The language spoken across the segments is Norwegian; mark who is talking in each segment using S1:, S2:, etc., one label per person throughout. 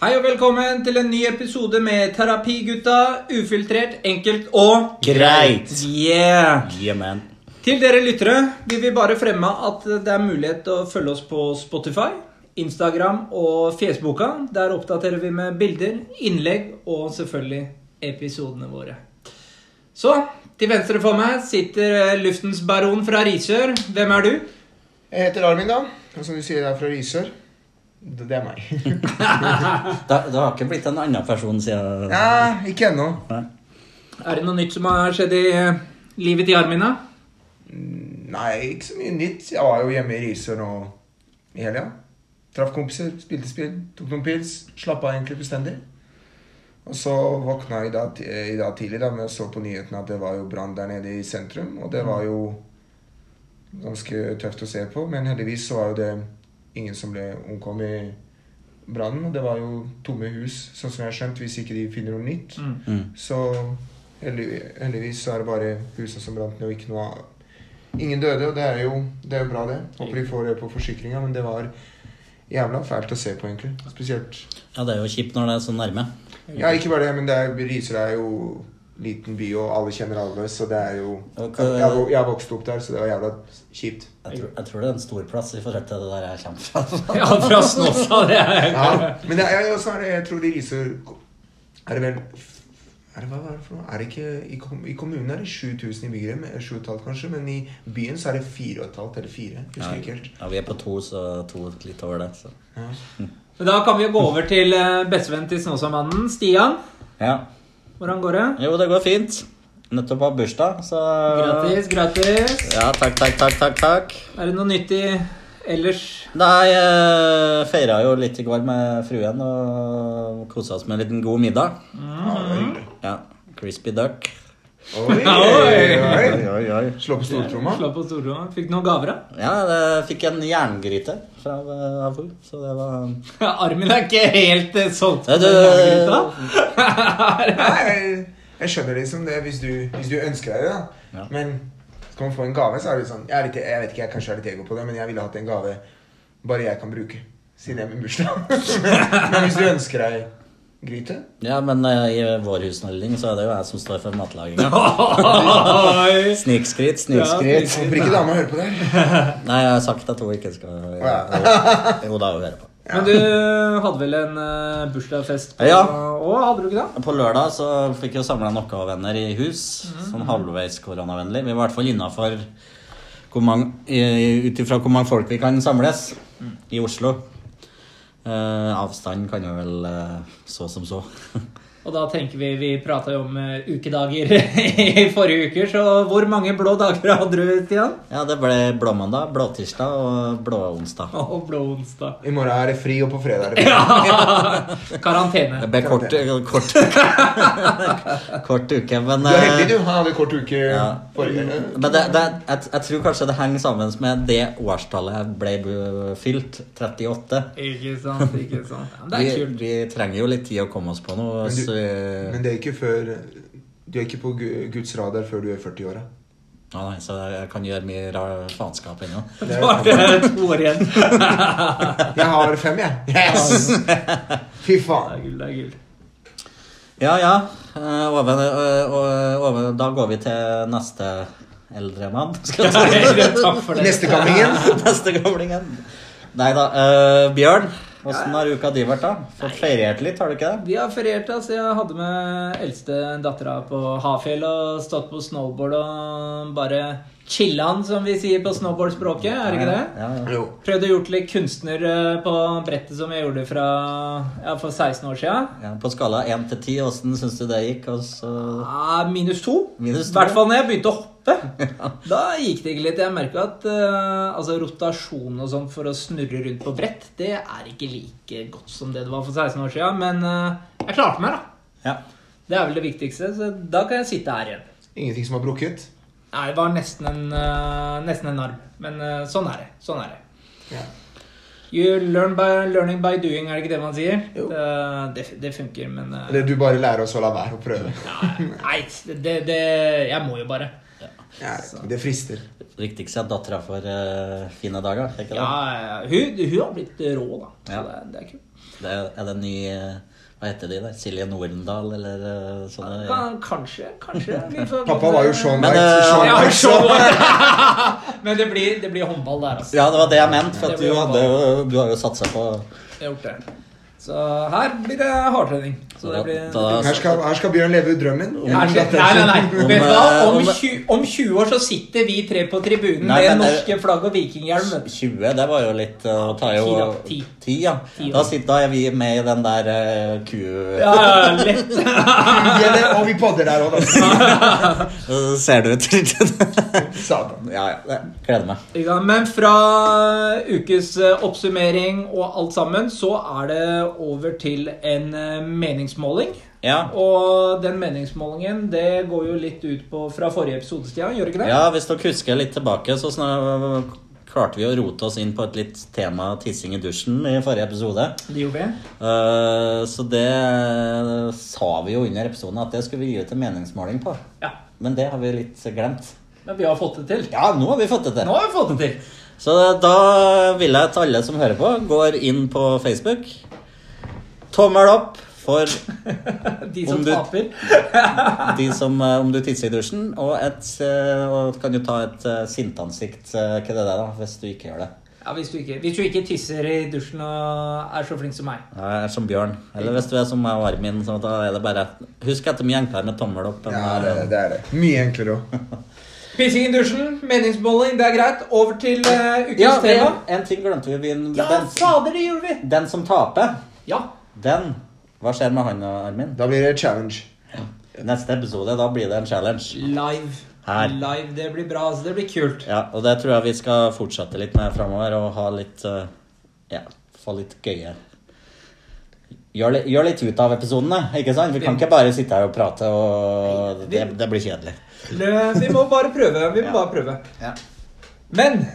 S1: Hei og velkommen til en ny episode med Terapigutta. Ufiltrert, enkelt og
S2: Greit.
S1: Yeah!
S2: Yeah, man.
S1: Til dere lyttere vil vi bare fremme at det er mulighet til å følge oss på Spotify, Instagram og Facebooka. Der oppdaterer vi med bilder, innlegg og selvfølgelig episodene våre. Så, til venstre for meg sitter eh, luftens baron fra Risør. Hvem er du?
S3: Jeg heter Armin, da. Og som du sier, jeg er fra Risør. Det, det er meg.
S2: Da, det har ikke blitt en annen person siden
S3: ja, ikke ennå.
S2: Nei.
S1: Er det noe nytt som har skjedd i eh, livet til Armin, da?
S3: Nei, ikke så mye nytt. Jeg var jo hjemme i Risør nå i helga. Traff kompiser, spilte spill, tok noen pils. Slappa av egentlig bestendig. Og så våkna jeg i dag, ti- i dag tidlig da, med å så på nyhetene at det var jo brann der nede i sentrum. Og det var jo ganske tøft å se på, men heldigvis så var jo det ingen som ble omkom i brannen. Og det var jo tomme hus, sånn som jeg har skjønt, hvis ikke de finner noe nytt.
S1: Mm.
S2: Mm.
S3: Så heldig, heldigvis så er det bare husene som brant ned, og ikke noe av Ingen døde, og det er jo det er jo bra, det. Håper de får det på forsikringa, men det var jævla fælt å se på, egentlig. Spesielt
S2: Ja, det er jo kjipt når det er så nærme.
S3: Ja, ikke bare det, men det er, Risør er jo liten by, og alle kjenner alle, så det er jo
S2: Ok.
S3: jeg, jeg, vo- jeg vokste opp der, så det var jævla kjipt.
S2: Jeg tror, jeg tror det er en stor plass i forhold til det der jeg kommer fra.
S1: Ja, fra Snåsa. Det er
S3: Ja, men det er, jeg, også er det, jeg tror de Risør Er det vel er det, hva er det for noe? Er det ikke, i, kom, I kommunen er det 7000 innbyggere, men- 7,5 kanskje, men i byen så er det 4,5 eller 4. Husker ikke helt.
S2: Ja, vi er på to, så to litt over det. Så.
S3: Ja.
S1: Men Da kan vi jo gå over til eh, bestevennen til Snåsamannen, Stian.
S2: Ja.
S1: Hvordan går det?
S2: Jo, det går fint. Nettopp har bursdag, så
S1: Gratis, gratis.
S2: Ja, takk, takk, takk, takk. takk.
S1: Er det noe nyttig ellers?
S2: Nei, jeg feira jo litt i går med fruen og kosa oss med en liten god middag.
S3: Ja, det
S1: Ah.
S3: var hyggelig.
S2: Ja, Crispy duck.
S3: Oi, oi, oi.
S2: oi, oi.
S3: Slå på stortromma.
S1: Slå på stortromma. Fikk du noen gaver, da?
S2: Ja, jeg fikk en jerngryte fra eh, av henne, så det var
S1: Armin er ikke helt eh, solgt
S2: Nei,
S1: på
S2: du-
S1: gavegryta.
S3: Nei, jeg, jeg skjønner liksom det hvis du, hvis du ønsker deg det, da.
S2: Ja.
S3: Men skal man få en gave, så er det litt sånn Jeg, er litt, jeg vet ikke, jeg kanskje er litt ego på det, men jeg ville hatt en gave bare jeg kan bruke. Siden jeg er med bursdag. men hvis du ønsker deg gryte
S2: Ja, men eh, i vår husholdning så er det jo jeg som står for matlaginga.
S1: Oi.
S2: Snikskritt,
S1: Ja,
S2: snikskritt.
S1: snikskritt.
S3: Håper ikke dama hører på det her.
S2: Nei, jeg har sagt at hun ikke skal Jo da, hun hører på.
S1: Men du hadde vel en eh, bursdagsfest? på-
S2: Ja.
S1: Å, hadde du ikke det?
S2: På lørdag så fikk vi samla noen venner i hus, sånn halvveis koronavennlig. Vi var i hvert fall innafor ut ifra hvor mange folk vi kan samles i Oslo. Eh, avstand kan jo vel eh, så som så.
S1: Og da tenker vi Vi prata jo om eh, ukedager i forrige uke, så hvor mange blå dager hadde du, Stian?
S2: ja, det ble blåmandag, blåtirsdag og blåonsdag.
S1: Og blå onsdag.
S3: I morgen er det fri, og på fredag er det fri.
S1: Karantene.
S2: Det ble kort, kort, kort uke, men
S3: Du er
S2: eh,
S3: heldig, du. Han hadde kort uke
S2: Ja.
S3: forrige.
S2: Men det, det, jeg, jeg tror kanskje det henger sammen med det årstallet jeg ble bu- fylt, 38.
S1: Ikke sant, ikke sant. Ja, men det
S2: Vi,
S1: er kult.
S2: vi trenger jo litt tid å komme oss på noe.
S3: Men du-
S2: Så vi,
S3: Men det er ikke før Du er ikke på Gu- Guds radar før du er 40-åra.
S2: ja, nei, så jeg kan gjøre mye rar faenskap ennå.
S1: Da var det to år igjen. Det
S3: Jeg har fem, jeg. Yes! Fy faen.
S1: er gull, det er gull.
S2: Ja, ja. eh, Over, eh, og- over, da går vi til neste eldre mann. Skal jeg si.
S1: Takk for det.
S3: Neste gammingen.
S2: Neste gamlingen. Nei da. eh, Bjørn, åssen har uka di vært, da? Fått feriert litt, har du ikke det?
S1: Vi har feriert, altså. Jeg hadde med eldste dattera på Hafjell og stått på snowboard og bare chilla'n, som vi sier på snowboardspråket. Er det ikke det?
S2: Ja, ja.
S3: Jo.
S1: Prøvd å gjort litt kunstner eh, på brettet som jeg gjorde fra, ja, for 16 år sia.
S2: Ja, på skala 1 til 10, åssen syns du det gikk? Og så
S1: Ah, Minus to. I
S2: Minus to.
S1: hvert fall når jeg begynte å hoppe. Da gikk det ikke litt. Jeg merka at eh, altså, rotasjon og sånn for å snurre rundt på brett, det er ikke like godt som det det var for 16 år sia. Men eh, jeg klarte meg, da.
S2: Ja.
S1: Det er vel det viktigste, så da kan jeg sitte her igjen.
S3: Ingenting som har brukket.
S1: Nei, det var nesten en, eh, nesten en arm, men eh, sånn er det. Sånn er det.
S3: Ja.
S1: You learn by learning by doing, er det ikke det man sier?
S3: Jo.
S1: Det, det, det funker, men eh,
S3: Eller du bare lærer oss å la være å prøve.
S1: Nei, det, det Jeg må jo bare.
S3: Ja, det frister.
S2: Viktigst er at dattera får eh, fine dager. er Ikke det?
S1: Ja, ja, ja. hun, hun har blitt eh, rå, da. Så
S2: Ja.
S1: det, er- det er kult.
S2: Det er, er det en ny eh, Hva heter de der? Silje Nordendal, eller eh, sånne? Ja.
S1: Kan, kanskje, kanskje. Vi får-
S3: Pappa var jo Sean
S2: Men,
S3: White.
S2: eh,
S3: så Sean
S1: Ja,
S3: White, så-
S1: Sean White. Men det blir, det blir håndball der, altså.
S2: ja, det var det jeg mente, for
S1: Det
S2: at
S1: blir
S2: du,
S1: jo
S2: hadde, jo- du har jo satsa på
S1: Jeg har gjort det. Så her blir det hardtrening. Så det blir
S2: da-
S3: her, skal, her skal Bjørn leve ut drømmen. om
S1: Her skjer- Nei, nei,
S3: datteren sin.
S1: nei.
S2: Om,
S1: Vet du hva?
S2: eh,
S1: Om,
S2: om-
S1: 20, om 20 år så sitter vi tre på tribunen
S2: Nei,
S1: med
S2: men, eh,
S1: norske flagg og vikinghjelm. vet du.
S2: 20, det var jo litt eh, å ta jo
S1: Ti, da. Ti.
S2: Ti, ja.
S1: Ti,
S2: Da
S1: da.
S2: sitter da er vi med i den der eh, ku...
S1: Ja, ja, ja, lett.
S3: Ja, det- Og vi podder der òg, da.
S2: Eh, Ser det ut til?
S3: Satan.
S2: ja, ja. jeg Gleder meg.
S1: Ja, men fra ukes eh, oppsummering og alt sammen, så er det over til en eh, meningsmåling.
S2: Ja.
S1: Og den meningsmålingen det går jo litt ut på fra forrige episode, Stian. Gjør det ikke det?
S2: ja, hvis dere husker litt tilbake, så snar- klarte vi å rote oss inn på et litt tema tissing i dusjen i forrige episode.
S1: Det gjorde vi.
S2: Eh, så det sa vi jo under episoden at det skulle vi gi ut en meningsmåling på.
S1: Ja.
S2: Men det har vi litt glemt.
S1: Men vi har fått det til.
S2: Ja, nå har vi fått det til.
S1: Nå har vi fått det til.
S2: Så da vil jeg at alle som hører på, går inn på Facebook. Tommel opp for
S1: De som
S2: Om du-
S1: taper.
S2: de som eh, Om du tisser i dusjen. Og et eh, Og kan jo ta et eh, sintansikt, eh, ikke det der, da, hvis du ikke gjør det.
S1: Ja, hvis du, ikke, hvis du ikke tisser i dusjen og er så flink som meg.
S2: Ja, Jeg er som Bjørn. Eller hvis du er som meg og Armin, så da er det bare Husk at de er enklere med tommel opp. eh, enn
S3: Ja,
S2: med-
S3: det, det er det. Mye enklere òg.
S1: Pissing i dusjen, meningsmåling, det er greit. Over til eh, ukens
S2: Ja,
S1: tema.
S2: en, en ting glemte vi. vi-
S1: Ja,
S2: Den,
S1: fader, det gjorde vi!
S2: den som taper,
S1: Ja.
S2: den Hva skjer med han og Armin?
S3: Da blir det challenge.
S2: Neste episode, da blir det en challenge.
S1: Live.
S2: Her.
S1: Live, Det blir bra. altså. Det blir kult.
S2: Ja, og det tror jeg vi skal fortsette litt med framover, og ha litt eh, Ja, få litt gøye Gjør litt, gjør litt ut av episodene, ikke sant? Vi kan ikke bare sitte her og prate, og det, det blir kjedelig.
S1: Det- Vi må bare prøve. Vi må
S2: Ja.
S1: bare prøve.
S2: Ja.
S1: Men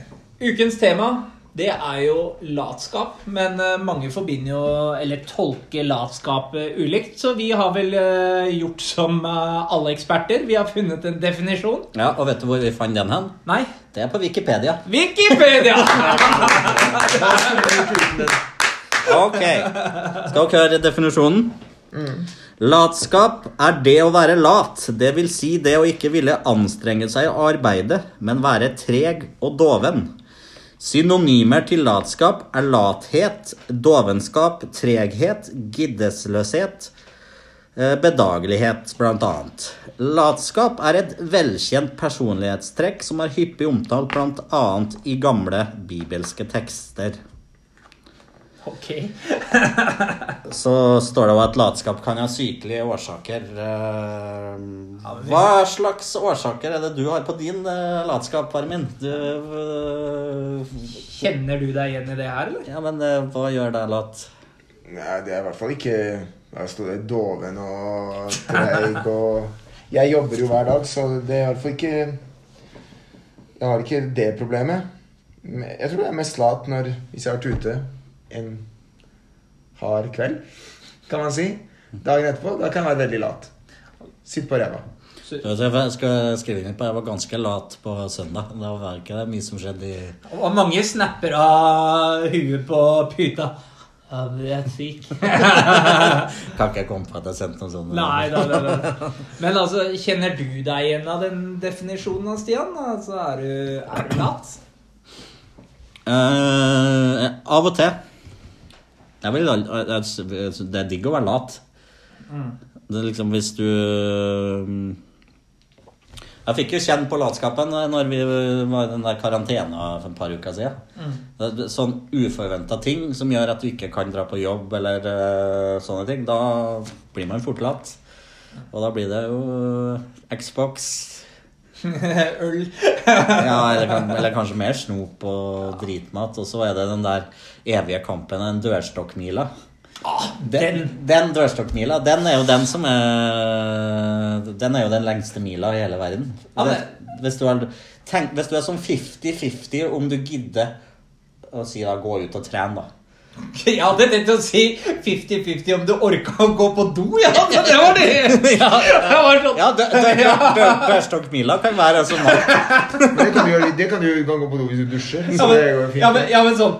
S1: ukens tema, det er jo latskap. Men eh, mange forbinder jo eller tolker latskap eh, ulikt. Så vi har vel eh, gjort som eh, alle eksperter. Vi har funnet en definisjon.
S2: ja, Og vet du hvor vi fant den hen?
S1: Nei,
S2: Det er på Wikipedia.
S1: Wikipedia!
S2: Ok. Skal dere høre definisjonen? Latskap er det å være lat, det vil si det å ikke ville anstrenge seg og arbeide, men være treg og doven. Synonymer til latskap er lathet, dovenskap, treghet, giddesløshet, eh, bedagelighet, blant annet. Latskap er et velkjent personlighetstrekk som er hyppig omtalt blant annet i gamle bibelske tekster.
S1: ok.
S2: Så står det jo at latskap kan ha sykelige årsaker. Eh, Hva slags årsaker er det du har på din eh, latskap, Armin? Du, eh,
S1: Kjenner du deg igjen i det her, eller?
S2: ja, men eh, hva gjør deg lat?
S3: Nei, det er i hvert fall ikke Jeg står der doven og treig og Jeg jobber jo hver dag, så det er i hvert fall ikke Jeg har ikke det problemet. Men Jeg tror jeg er mest lat når, hvis jeg har vært ute en hard kveld, kan man si. Dagen etterpå, da kan jeg være veldig lat. Sitt på ræva.
S2: Du vet, Jeg skal skrive inn på jeg var ganske lat på søndag. Det var ikke det mye som skjedde i
S1: Og mange snapper av huet på pyta. Ja, det er syk.
S2: Kan ikke komme på at jeg sendte noen sånne.
S1: Nei da, da, da. Men altså, kjenner du deg igjen av den definisjonen, Stian? Altså, er du, er du lat?
S2: Eh, av og til. Jeg vil, al- jeg, jeg, det er digg å være lat.
S1: Mm.
S2: Det er liksom hvis du mm, Jeg fikk jo kjenne på latskapen eh, Når vi var i den der karantena for et par uker siden. Det- det- Sånn uforventa ting som gjør at du ikke kan dra på jobb eller eh, sånne ting. Da blir man fort lat. Og da blir det jo eh, Xbox,
S1: Øl.
S2: ja, eller, kan- eller kanskje mer snop og dritmat. Og så er det den der evige kampen, den dørstokkmila.
S1: Ah,
S2: Den, den dørstokkmila, den er jo den som er Den er jo den lengste mila i hele verden.
S1: Ja, men-
S2: Hvis- Hvis, du er, tenk, hvis du er sånn 50-50 om du gidder å si da gå ut og trene, da.
S1: Jeg hadde tenkt å si 50-50 om du orka å gå på do, ja! Men det var det! Jeg var sånn.
S2: Ja, dø- dø- dø- dø- dørstokkmila kan være altså mat.
S3: Men det kan du gjøre, det kan du, du kan gå på do hvis du dusjer.
S1: Ja,
S3: Så det går
S1: men,
S3: fint.
S1: ja, men, ja, men sånn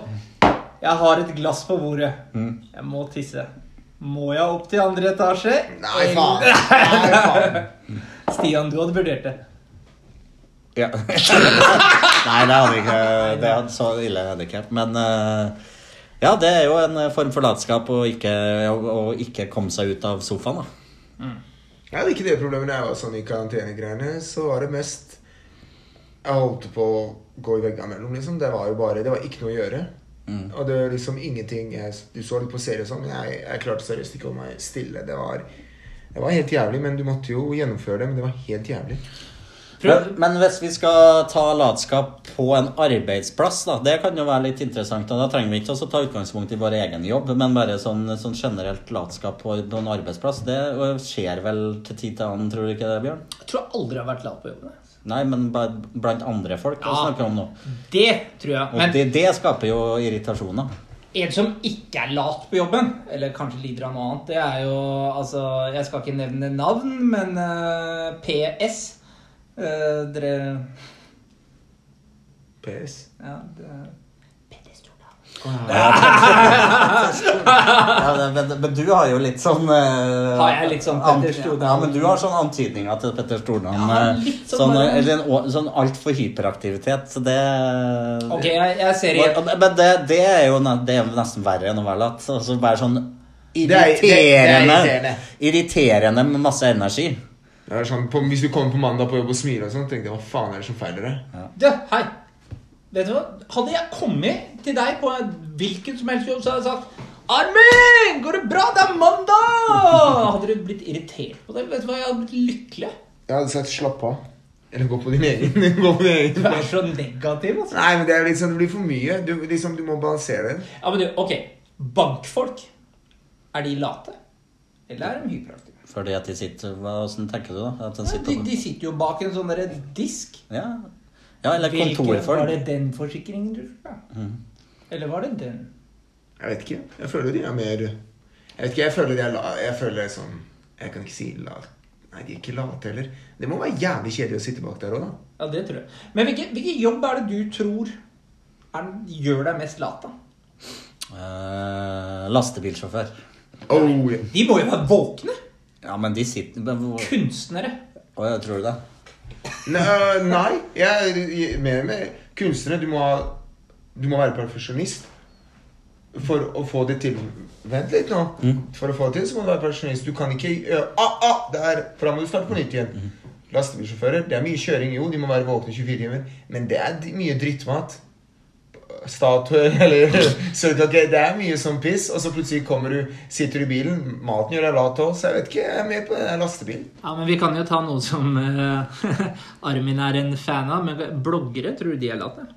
S1: Jeg har et glass på bordet.
S3: Mm.
S1: Jeg må tisse. Må jeg opp til andre etasje?
S3: Nei, faen. Nei, faen.
S1: Stian, du hadde vurdert det.
S2: Ja. Nei, det hadde ikke det hadde Så ille hadde ikke vært. Men eh, ja, det er jo en eh, form for latskap å ikke, å å ikke komme seg ut av sofaen, da.
S3: Jeg hadde ikke det problemet da jeg var sånn i karantenegreiene. Så var det mest Jeg holdt på å gå i veggene mellom, liksom. Det var jo bare Det var ikke noe å gjøre.
S2: Mm.
S3: Og det var liksom ingenting jeg, Du så litt på serie og sånn, men jeg, jeg klarte seriøst ikke å holde meg stille. Det var, det var helt jævlig, men du måtte jo gjennomføre det. Men det var helt jævlig.
S2: Men, men hvis vi skal ta latskap på en arbeidsplass, da, det kan jo være litt interessant. og Da trenger vi ikke også ta utgangspunkt i vår egen jobb, men bare sånn, sånn generelt latskap på en arbeidsplass. Det øh, skjer vel til tid til annen, tror du ikke det, Bjørn?
S1: Jeg tror jeg aldri har vært lat på jobben.
S2: Nei, men ba- blant andre folk ja.
S1: Ja.
S2: snakker vi om nå.
S1: Det tror jeg.
S2: Og
S1: Men
S2: det, det skaper jo irritasjoner.
S1: en som ikke er lat på jobben, eller kanskje lider av noe annet, det er jo Altså, jeg skal ikke nevne navn, men eh, PS eh, Dere
S3: PS.
S1: Ja, det
S2: Ja, det- men, men du har jo litt sånn eh,
S1: Har jeg litt sånn Petter
S2: ant-
S1: Stordalen?
S2: Ja, men du har sånn antydninger til Petter Stordalen.
S1: Ja,
S2: eh,
S1: litt sånn
S2: sånn,
S1: bare-
S2: eller en, å- sånn altfor hyperaktivitet. Så det
S1: Ok, jeg, jeg ser i
S2: Men- Men det, det er jo ne- det er jo nesten verre enn å være latt. Altså bare sånn
S3: det er
S2: irriterende, irriterende.
S3: irriterende.
S2: med masse energi.
S3: Det var sånn, på, hvis du kommer på mandag på jobb og smiler og sånn, tenkte jeg hva faen er det som feiler deg?
S1: Du, hei. Vet du hva? Hadde jeg kommet til deg på en hvilken som helst jobb, så hadde jeg sagt Armin! Går det bra? Det er mandag! Hadde du blitt irritert på det? Vet du hva? Jeg hadde blitt lykkelig.
S3: Jeg hadde sagt slapp av. Eller gå på din egen. gå på din
S1: Du
S3: egen.
S1: er så negativ, altså.
S3: Nei, men det er liksom, det blir for mye. Du, liksom, du må balansere det.
S1: Ja, men du, ok. Bankfolk. Er de late? Eller er de hyperaktive?
S2: Fordi at de sitter hva- Hvordan tenker du da? At de
S1: Nei,
S2: sitter
S1: De, de sitter jo bak en sånn derre disk.
S2: ja. ja, eller
S1: Hvilken- Var
S2: kontorfolk. Mm.
S1: det den forsikringen du fikk? da? Eller var det den?
S3: Jeg vet ikke. Jeg føler de er mer Jeg vet ikke, jeg føler de er la... Jeg føler sånn Jeg kan ikke si lat... Nei, de er ikke late heller. Det må være jævlig kjedelig å sitte bak der òg, da.
S1: Ja, det tror jeg. Men hvilken, hvilken jobb er det du tror er, den- gjør deg mest lat, da?
S2: Eh, lastebilsjåfør.
S3: Oh, ja.
S1: De må jo være våkne!
S2: Ja, men de sitter men hvor-
S1: Kunstnere.
S2: Å ja, tror du det?
S3: Nei, øh, nei. Jeg er mer med kunstnere. Du må ha Du må være perfeksjonist. For å få det til Vent litt nå. For å få det til så må du være perfeksjonist. Du kan ikke øh, ah, ah, Der! For da må du starte på nytt igjen. Lastebilsjåfører. Det er mye kjøring, jo. De må være våkne 24 timer. Men det er d- mye drittmat. Statuer eller Sørkake. Det er mye sånn piss. Og så plutselig kommer du, sitter du i bilen. Maten gjør deg lat òg, så jeg vet ikke. Jeg er med på den der lastebilen.
S1: Ja, men Vi kan jo ta noe som eh, Armin er en fan av. Men bloggere, tror du de er late?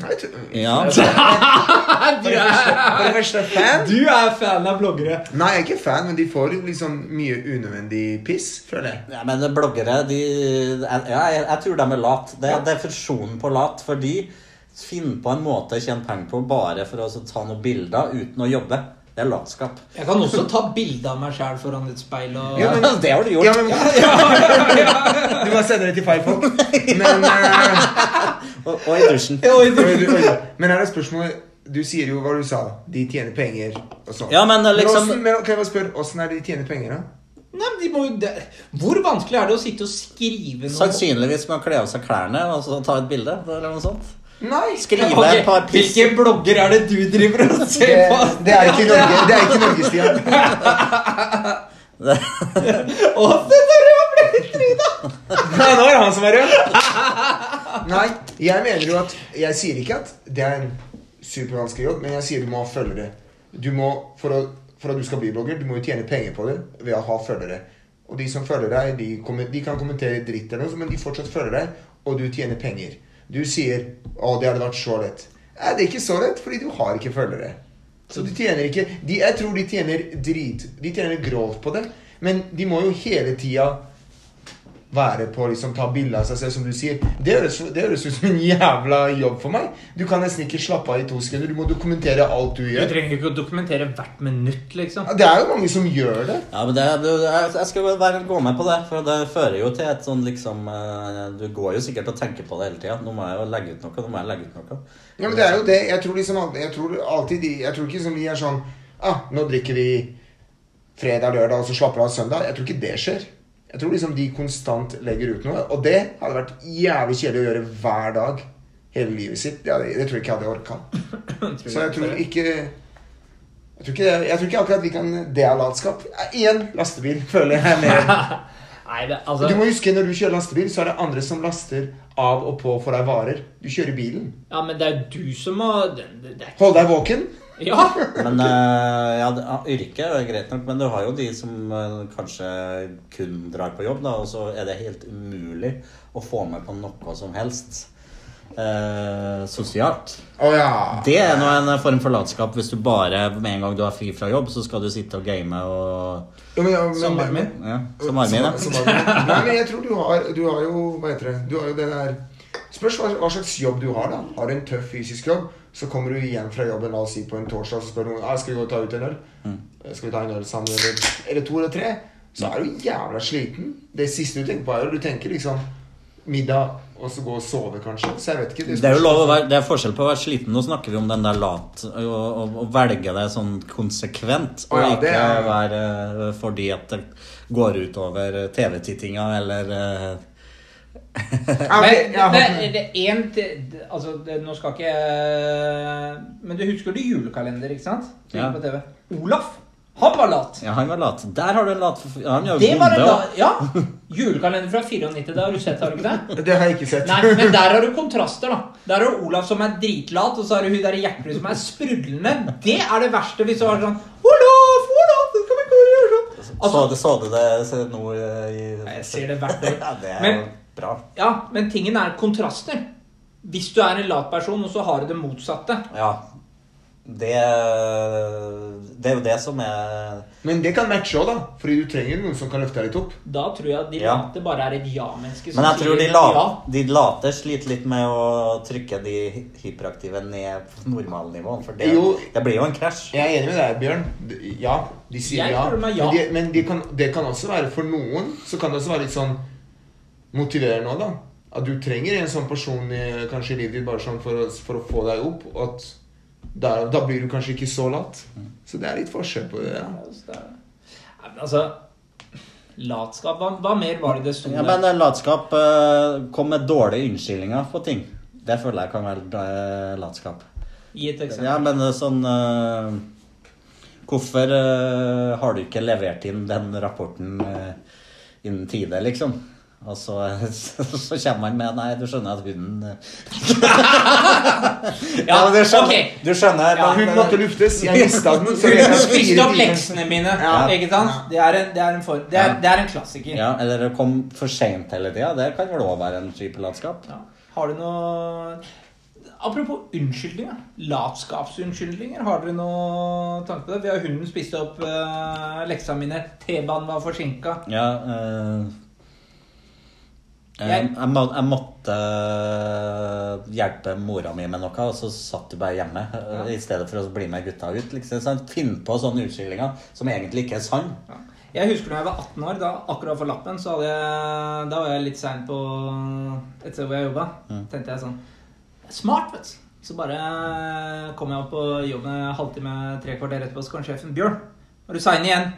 S3: Nei, jeg tror-
S2: Ja.
S1: du, er,
S3: For det første fan.
S1: du er fan av bloggere!
S3: Nei, jeg er ikke fan, men de får liksom mye unødvendig piss, føler jeg.
S2: Ja, men bloggere, de Ja, jeg, jeg tror de er lat. Det er definisjonen på lat. For de finner på en måte å tjene penger på bare for å så ta noen bilder uten å jobbe. Det er latskap.
S1: Jeg kan også ta bilde av meg sjæl foran et speil og
S3: Ja, men-
S2: det har du gjort.
S3: Ja, men, Du kan sende det til feil folk. Men, eh,
S2: Og, og i dusjen.
S1: Oi, du-
S3: oi, du- oi, du. men her er spørsmålet Du sier jo hva du sa. De tjener penger og sånn.
S2: Ja, men, eh, liksom-
S3: åssen- men kan jeg bare spørre, åssen er det de tjener penger, da?
S1: Nei, men de må jo det- Hvor vanskelig er det å sitte og skrive noe?
S2: Sannsynligvis med å kle av seg klærne og så ta et bilde. eller noe sånt.
S3: Nei.
S2: Skrive
S1: Ok,
S2: et par piss.
S1: Hvilke blogger er det du driver og
S3: Det,
S1: ser på?
S3: det er ikke Norge, det er ikke Norge, Stian.
S1: Å, se der, det var blitt Frida!
S3: Nei, nå er det han som er rød. Nei, jeg mener jo at Jeg sier ikke at det er en supervanskelig jobb, men jeg sier du må ha følgere. Du må, for, å, for at du skal bli blogger, du må jo tjene penger på det ved å ha følgere. Og de som følger deg, de, kommer- de kan kommentere dritt eller noe, men de fortsatt følger deg, og du tjener penger. Du sier 'Å, det hadde vært så lett'. Nei, det er ikke så lett, fordi du har ikke følgere. Så du tjener ikke de, Jeg tror de tjener drit De tjener grovt på det, men de må jo hele tida være på liksom ta bilde av seg selv, som du sier. Det høres, det høres ut som en jævla jobb for meg. Du kan nesten ikke slappe av i to sekunder. Du må dokumentere alt du
S1: Du
S3: gjør.
S1: trenger ikke å dokumentere hvert minutt, liksom.
S3: Ja, Det er jo mange som gjør det.
S2: Ja, men det, det, jeg- jeg skal være, gå med på det, for det fører jo til et sånn liksom eh, Du går jo sikkert og tenker på det hele tida. Nå må jeg jo legge ut noe, nå må jeg legge ut noe.
S3: Ja, men det er jo det. Jeg tror liksom al- Jeg tror alltid de Jeg tror ikke som vi er sånn Ah, nå drikker vi fredag, lørdag, og så slapper vi av søndag. Jeg tror ikke det skjer. Jeg tror liksom de konstant legger ut noe. Og det hadde vært jævlig kjedelig å gjøre hver dag hele livet sitt. Det, hadde, det tror jeg ikke jeg hadde orka. Så jeg tror ikke jeg tror ikke, jeg tror ikke akkurat vi kan Det er latskap. Eh, Igjen lastebil, føler jeg. Med.
S1: Nei, det,
S3: Du
S1: altså
S3: må huske når du kjører lastebil, så er det andre som laster av og på for deg varer. Du kjører bilen.
S1: Ja, men det er jo du som må det, det, det,
S3: Hold deg våken.
S1: Ja!
S2: Men eh, ja, det- ja, yrket er jo greit nok, men du har jo de som eh, kanskje kun drar på jobb, da, og så er det helt umulig å få med på noe som helst eh, sosialt.
S3: Å ja.
S2: Det er nå en form for latskap hvis du bare med en gang du har fri fra jobb, så skal du sitte og game og
S3: Ja, men, ja, men,
S1: Som Armin.
S2: ja, Som Armin, ja.
S3: Som- som Armin. Nei, men jeg tror du har, du har jo Hva heter det? Du har jo det der Spørs hva, hva slags jobb du har, da. Har du en tøff fysisk jobb, så kommer du hjem fra jobben la oss si på en torsdag så spør noen ah, skal vi gå og ta ut en øl.
S2: Mm.
S3: «Eh, Skal vi ta en øl sammen, eller, eller to eller tre? Så er du jævla sliten. Det siste du tenker på, er jo Du tenker liksom middag, og så gå og sove, kanskje. Så jeg vet ikke.
S2: Det er jo lov å være, det er forskjell på å være sliten. Nå snakker vi om den der lat Å å- å velge det sånn konsekvent. Og
S3: Å ja, det
S2: ikke
S3: er-
S2: være eh, fordi at det går utover eh, TV-tittinga eller eh,
S3: Ja,
S1: Men
S3: men, ja,
S1: det, det er en til- det- Altså, det, nå skal ikke jeg- Men du husker du julekalender, ikke sant? Som
S2: Ja.
S1: gikk På TV. Olaf, han var lat.
S2: Ja, han var lat. Der har du en lat ja, Han er jo
S1: Det var en
S2: bonde.
S1: lat Ja! Julekalender fra 94, det har du sett, har du ikke det?
S3: det har jeg ikke sett.
S1: Nei, men der har du kontraster, da. Der har du Olaf som er dritlat, og så har du hun der i Gjertrud som er sprudlende. Det er det verste hvis du har sånn Olaf, Olaf, det skal vi ikke gjøre sånn.
S2: så,
S1: Altså,
S2: du- så du det så nå eh, i
S1: jeg ser det hvert år.
S2: Ja, det er
S1: Men-
S2: jo bra.
S1: ja, men tingen er kontraster. Hvis du er en lat person, og så har du det motsatte.
S2: Ja. Det Det er jo det som er
S3: Men det kan matche òg, da. Fordi du trenger noen som kan løfte deg litt opp.
S1: Da tror jeg at de
S2: Ja.
S1: late bare er et ja-menneske. som
S2: Men jeg tror de,
S1: sier
S2: la,
S1: ja.
S2: de late sliter litt med å trykke de hy- hyperaktive ned på normalnivået. For det,
S3: Jo.
S2: det blir jo en krasj.
S3: Jeg er enig med deg, Bjørn. D- Ja, de sier
S1: Jeg
S3: ja.
S1: føler meg ja.
S3: Men, de, men de kan, det kan også være for noen Så kan det også være litt sånn motiverende òg, da. At du trenger en sånn person i, kanskje i livet ditt bare sånn for å, for å få deg opp. Og at da, da blir du kanskje ikke så lat. Så det er litt forskjell på det. Ja.
S1: Ja, så det er- Nei, men altså Latskap. Hva, hva mer var det det sto
S2: Ja, men eh, latskap eh, kom med dårlige unnskyldninger på ting. Det føler jeg kan være eh, latskap.
S1: Gi et eksempel.
S2: Ja, men eh, sånn eh, Hvorfor eh, har du ikke levert inn den rapporten eh, innen tide, liksom? Og så, eh, så, kommer han med Nei, du skjønner at hunden eh,
S1: Ja,
S2: men du skjønner,
S1: ok.
S2: du skjønner eh,
S1: Ja,
S3: Hun måtte luftes. Jeg mista den. så jeg
S1: Hun
S3: har fire
S1: spiste opp
S3: timer.
S1: leksene mine.
S3: Ja.
S1: Ikke sant? Det er en, det er en, form, det er,
S2: Ja.
S1: det er en klassiker.
S2: Ja, eller det kom for sent hele tida. Det kan vel òg være en type latskap.
S1: Ja. Har du noe Apropos unnskyldninger. Latskapsunnskyldninger. Har dere noe tanke på det? Vi har hunden spiste opp uh, leksa mine. T-banen var forsinka.
S2: Ja, eh, eh,
S1: Jeg-
S2: jeg, må, jeg måtte eh, hjelpe mora mi med noe, og så satt du bare hjemme. eh, I stedet for å bli med gutta ut. Liksom, sant? Finn på sånne unnskyldninger som egentlig ikke er sann.
S1: Ja. Jeg husker da jeg var 18 år, da akkurat for lappen, så hadde jeg, da var jeg litt sein på et sted hvor jeg jobba. Tenkte jeg sånn Smart, vet du. Så bare kom jeg opp på jobben en halvtime, tre kvarter etterpå, så kom sjefen. 'Bjørn, var du sein igjen?'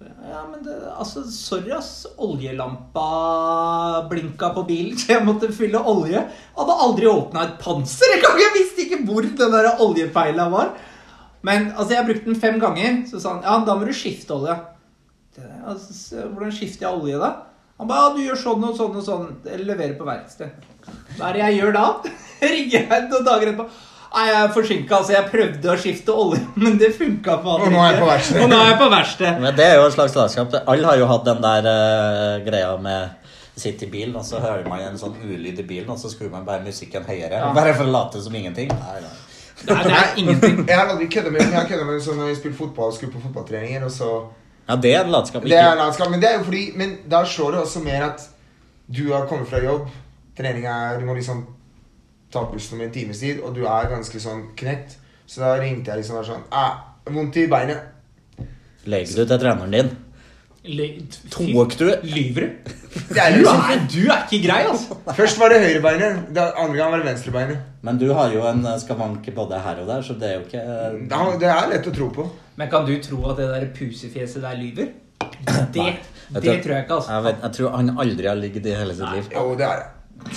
S1: Ja, men det, altså, sorry, ass. Oljelampa blinka på bilen, så jeg måtte fylle olje. Hadde aldri åpna et panser engang! Jeg visste ikke hvor den der oljepeila var. Men altså, jeg brukte den fem ganger. Så sa han ja, da må du skifte olje. Det, altså, s- hvordan skifter jeg olje da? Han ba, ja, du gjør sånn og sånn og sånn. Eller leverer på verksted. Hva er det jeg gjør da? Ringer jeg noen dager etterpå. Nei, jeg er forsinka, altså. Jeg prøvde å skifte olje, men det funka faen
S3: Og nå er jeg på verksted.
S1: Og nå er jeg på verksted.
S2: Men det er jo et slags latskap. Alle har jo hatt den der eh, greia med Sitte i bilen, og så hører man en sånn ulyd i bilen, og så skrur man bare musikken høyere.
S1: Ja.
S2: Bare for å late som ingenting. Nei, nei.
S1: Nei, det er ingenting.
S3: Jeg har aldri kødda med den. Jeg har kødda med den sånn når jeg spilte fotball og skulle på fotballtreninger. og så...
S2: Ja, det er en latskap.
S3: Det
S2: Ikke
S3: er landskap, men det er jo fordi Men da slår det også mer at Du har kommet fra jobb, trening er Du må liksom ta bussen om en times tid, og du er ganske sånn knekt. Så da ringte jeg liksom og var sånn Æ, vondt i beinet.
S2: Legg det ut til treneren din.
S1: Le-
S2: Tok du
S1: Lyver du?
S3: Det er
S1: Du
S3: liksom
S1: er, du er ikke grei, altså!
S3: Først var det høyrebeinet, da- andre gang var det venstrebeinet.
S2: Men du har jo en eh, skavank både her og der, så det er jo ikke eh,
S3: Det er- det er lett å tro på.
S1: Men kan du tro at det der pusefjeset der lyver? Det,
S2: Nei.
S1: det tror
S2: Jeg tror-
S1: jeg ikke, altså.
S2: jeg, vet, jeg tror han aldri har ligget i hele sitt liv.
S3: Jo, det er det.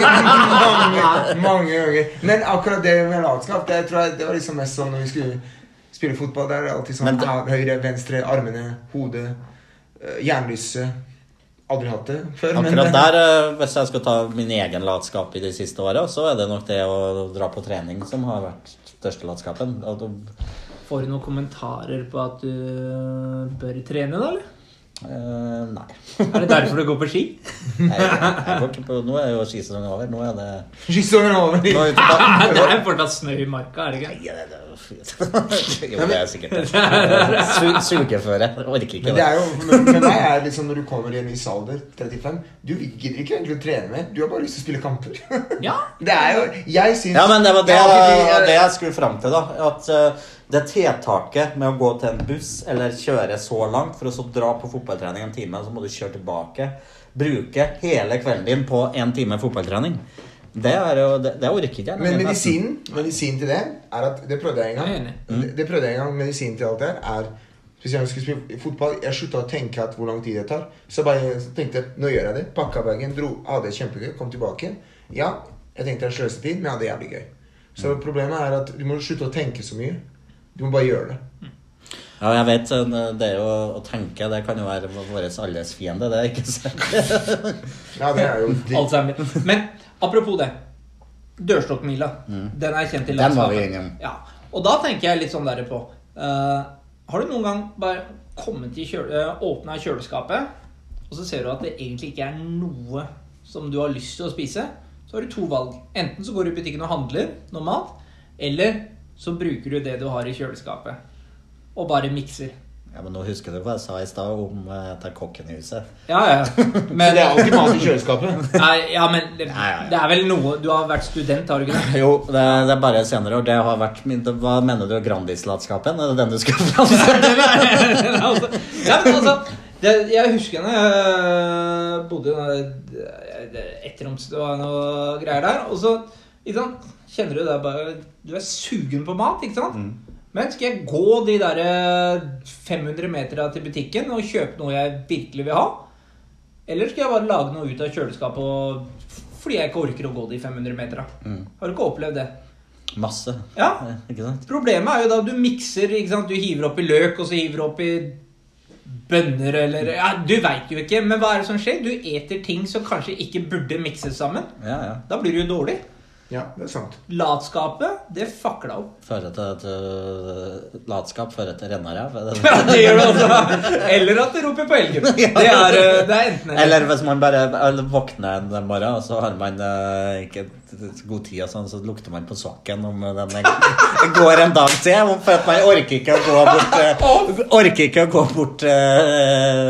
S3: mange, mange ganger. Men akkurat det med latskap, det tror jeg det var liksom mest sånn når vi skulle spille fotball. Der er det alltid sånn
S2: Men det-
S3: ah, høyre, venstre, armene, hodet, uh, jernlyse. Aldri hatt det før. men
S2: Akkurat
S3: det-
S2: der, eh, hvis jeg skal ta min egen latskap i de siste åra, så er det nok det å dra på trening som har vært største latskapen. Og da,
S1: Får du noen kommentarer på at du bør trene, da? eller?
S2: eh, nei.
S1: Er det derfor du går på ski?
S2: Jeg, jeg går ikke på, nå er jo skisesongen over. Nå er det
S3: Skisongen er over.
S2: nå er vi
S1: Nei,
S2: tilbake.
S1: det er fortsatt snø i marka, er det ikke?
S2: Ja, det er jo- Jo, det er sikkert det. Su- Sugeføre. Jeg Orker ikke
S3: Men det
S2: det.
S3: er jo, men men det er liksom når du kommer i en viss alder, 35 Du gidder ikke egentlig å trene mer. Du har bare lyst til å spille kamper.
S1: Ja.
S3: Det er jo Jeg syns
S2: Ja, men det var det,
S3: Jeg har ikke- jeg-
S2: det jeg skulle fram til, da. At eh, det tiltaket med å gå til en buss eller kjøre så langt for å så dra på fotballtrening en time, så må du kjøre tilbake, bruke hele kvelden din på en time fotballtrening, det er jo Det, det orker ikke jeg.
S3: Men medisinen, medisinen til det er at Det prøvde jeg en
S1: Jeg er
S3: gang.
S1: enig.
S3: Det, det prøvde jeg en gang Medisinen til alt det her er Spesielt når jeg skulle spille fotball, jeg slutta å tenke at hvor lang tid det tar. Så bare jeg tenkte nå gjør jeg det. Pakka bagen, dro, hadde det kjempegøy, kom tilbake. Ja, jeg tenkte jeg sløste tid, men jeg hadde det jævlig gøy. Så
S1: Mm.
S3: problemet er at du må slutte å tenke så mye. Du må bare gjøre det.
S2: Ja, jeg vet eh, det er jo å tenke Det kan jo være vår alles fiende, det er ikke sant?
S3: Ja, det er jo dritt.
S1: Alzheimer. Men apropos det. Dørstokkmila.
S3: Mm.
S1: Den er kjent i
S2: Den var
S1: landskapet.
S2: vi innom.
S1: Ja. Og da tenker jeg litt sånn derre på eh, Har du noen gang bare kommet i kjøle, åpna kjøleskapet, og så ser du at det egentlig ikke er noe som du har lyst til å spise? Så har du to valg. Enten så går du i butikken og handler noe mat, eller så bruker du det du har i kjøleskapet, og bare mikser.
S2: Ja, men nå husker du hva jeg sa i stad om eh, at det er kokken i huset.
S1: Ja, ja.
S3: Men
S1: Men,
S3: det er alltid mat i kjøleskapet.
S1: nei, ja, men det,
S2: Nei, ja, ja.
S1: det er vel noe Du har vært student, har du ikke det?
S2: Jo, det, det er bare senere år. Det har vært min det- Hva mener du Grandis-latskapen? Er det den du skal framføre?
S1: Altså, ja, men altså det, Jeg husker da jeg bodde i den der ettroms Det var noe greier der. Og så ikke sant, kjenner du det er bare Du er sugen på mat, ikke sant? Men skal jeg gå de der eh, 500 metera til butikken og kjøpe noe jeg virkelig vil ha? Eller skal jeg bare lage noe ut av kjøleskapet og, fordi jeg ikke orker å gå de 500 metera? Har du ikke opplevd det?
S2: Masse.
S1: Ja.
S2: Ikke sant?
S1: Problemet er jo da du mikser, ikke sant? Du hiver opp i løk, og så hiver du opp i bønner, eller ja, Du veit jo ikke, men hva er det som skjer? Du eter ting som kanskje ikke burde mikses sammen.
S2: Ja, ja.
S1: Da blir du jo dårlig.
S3: Ja, det er sant.
S1: Latskapet, det fucker deg opp.
S2: Fører til at øh, latskap fører til rennaræv. er det det?
S1: Ja, det gjør du også. Eller at du roper på elgen. Det er, eh, det er enten
S2: Eller hvis man bare eller våkner en morgen, og så har man eh, ikke t- god tid, og sånn, så lukter man på sokken om den er- går en dag til. om- For at man orker ikke å gå bort eh, Orker ikke å gå bort eh,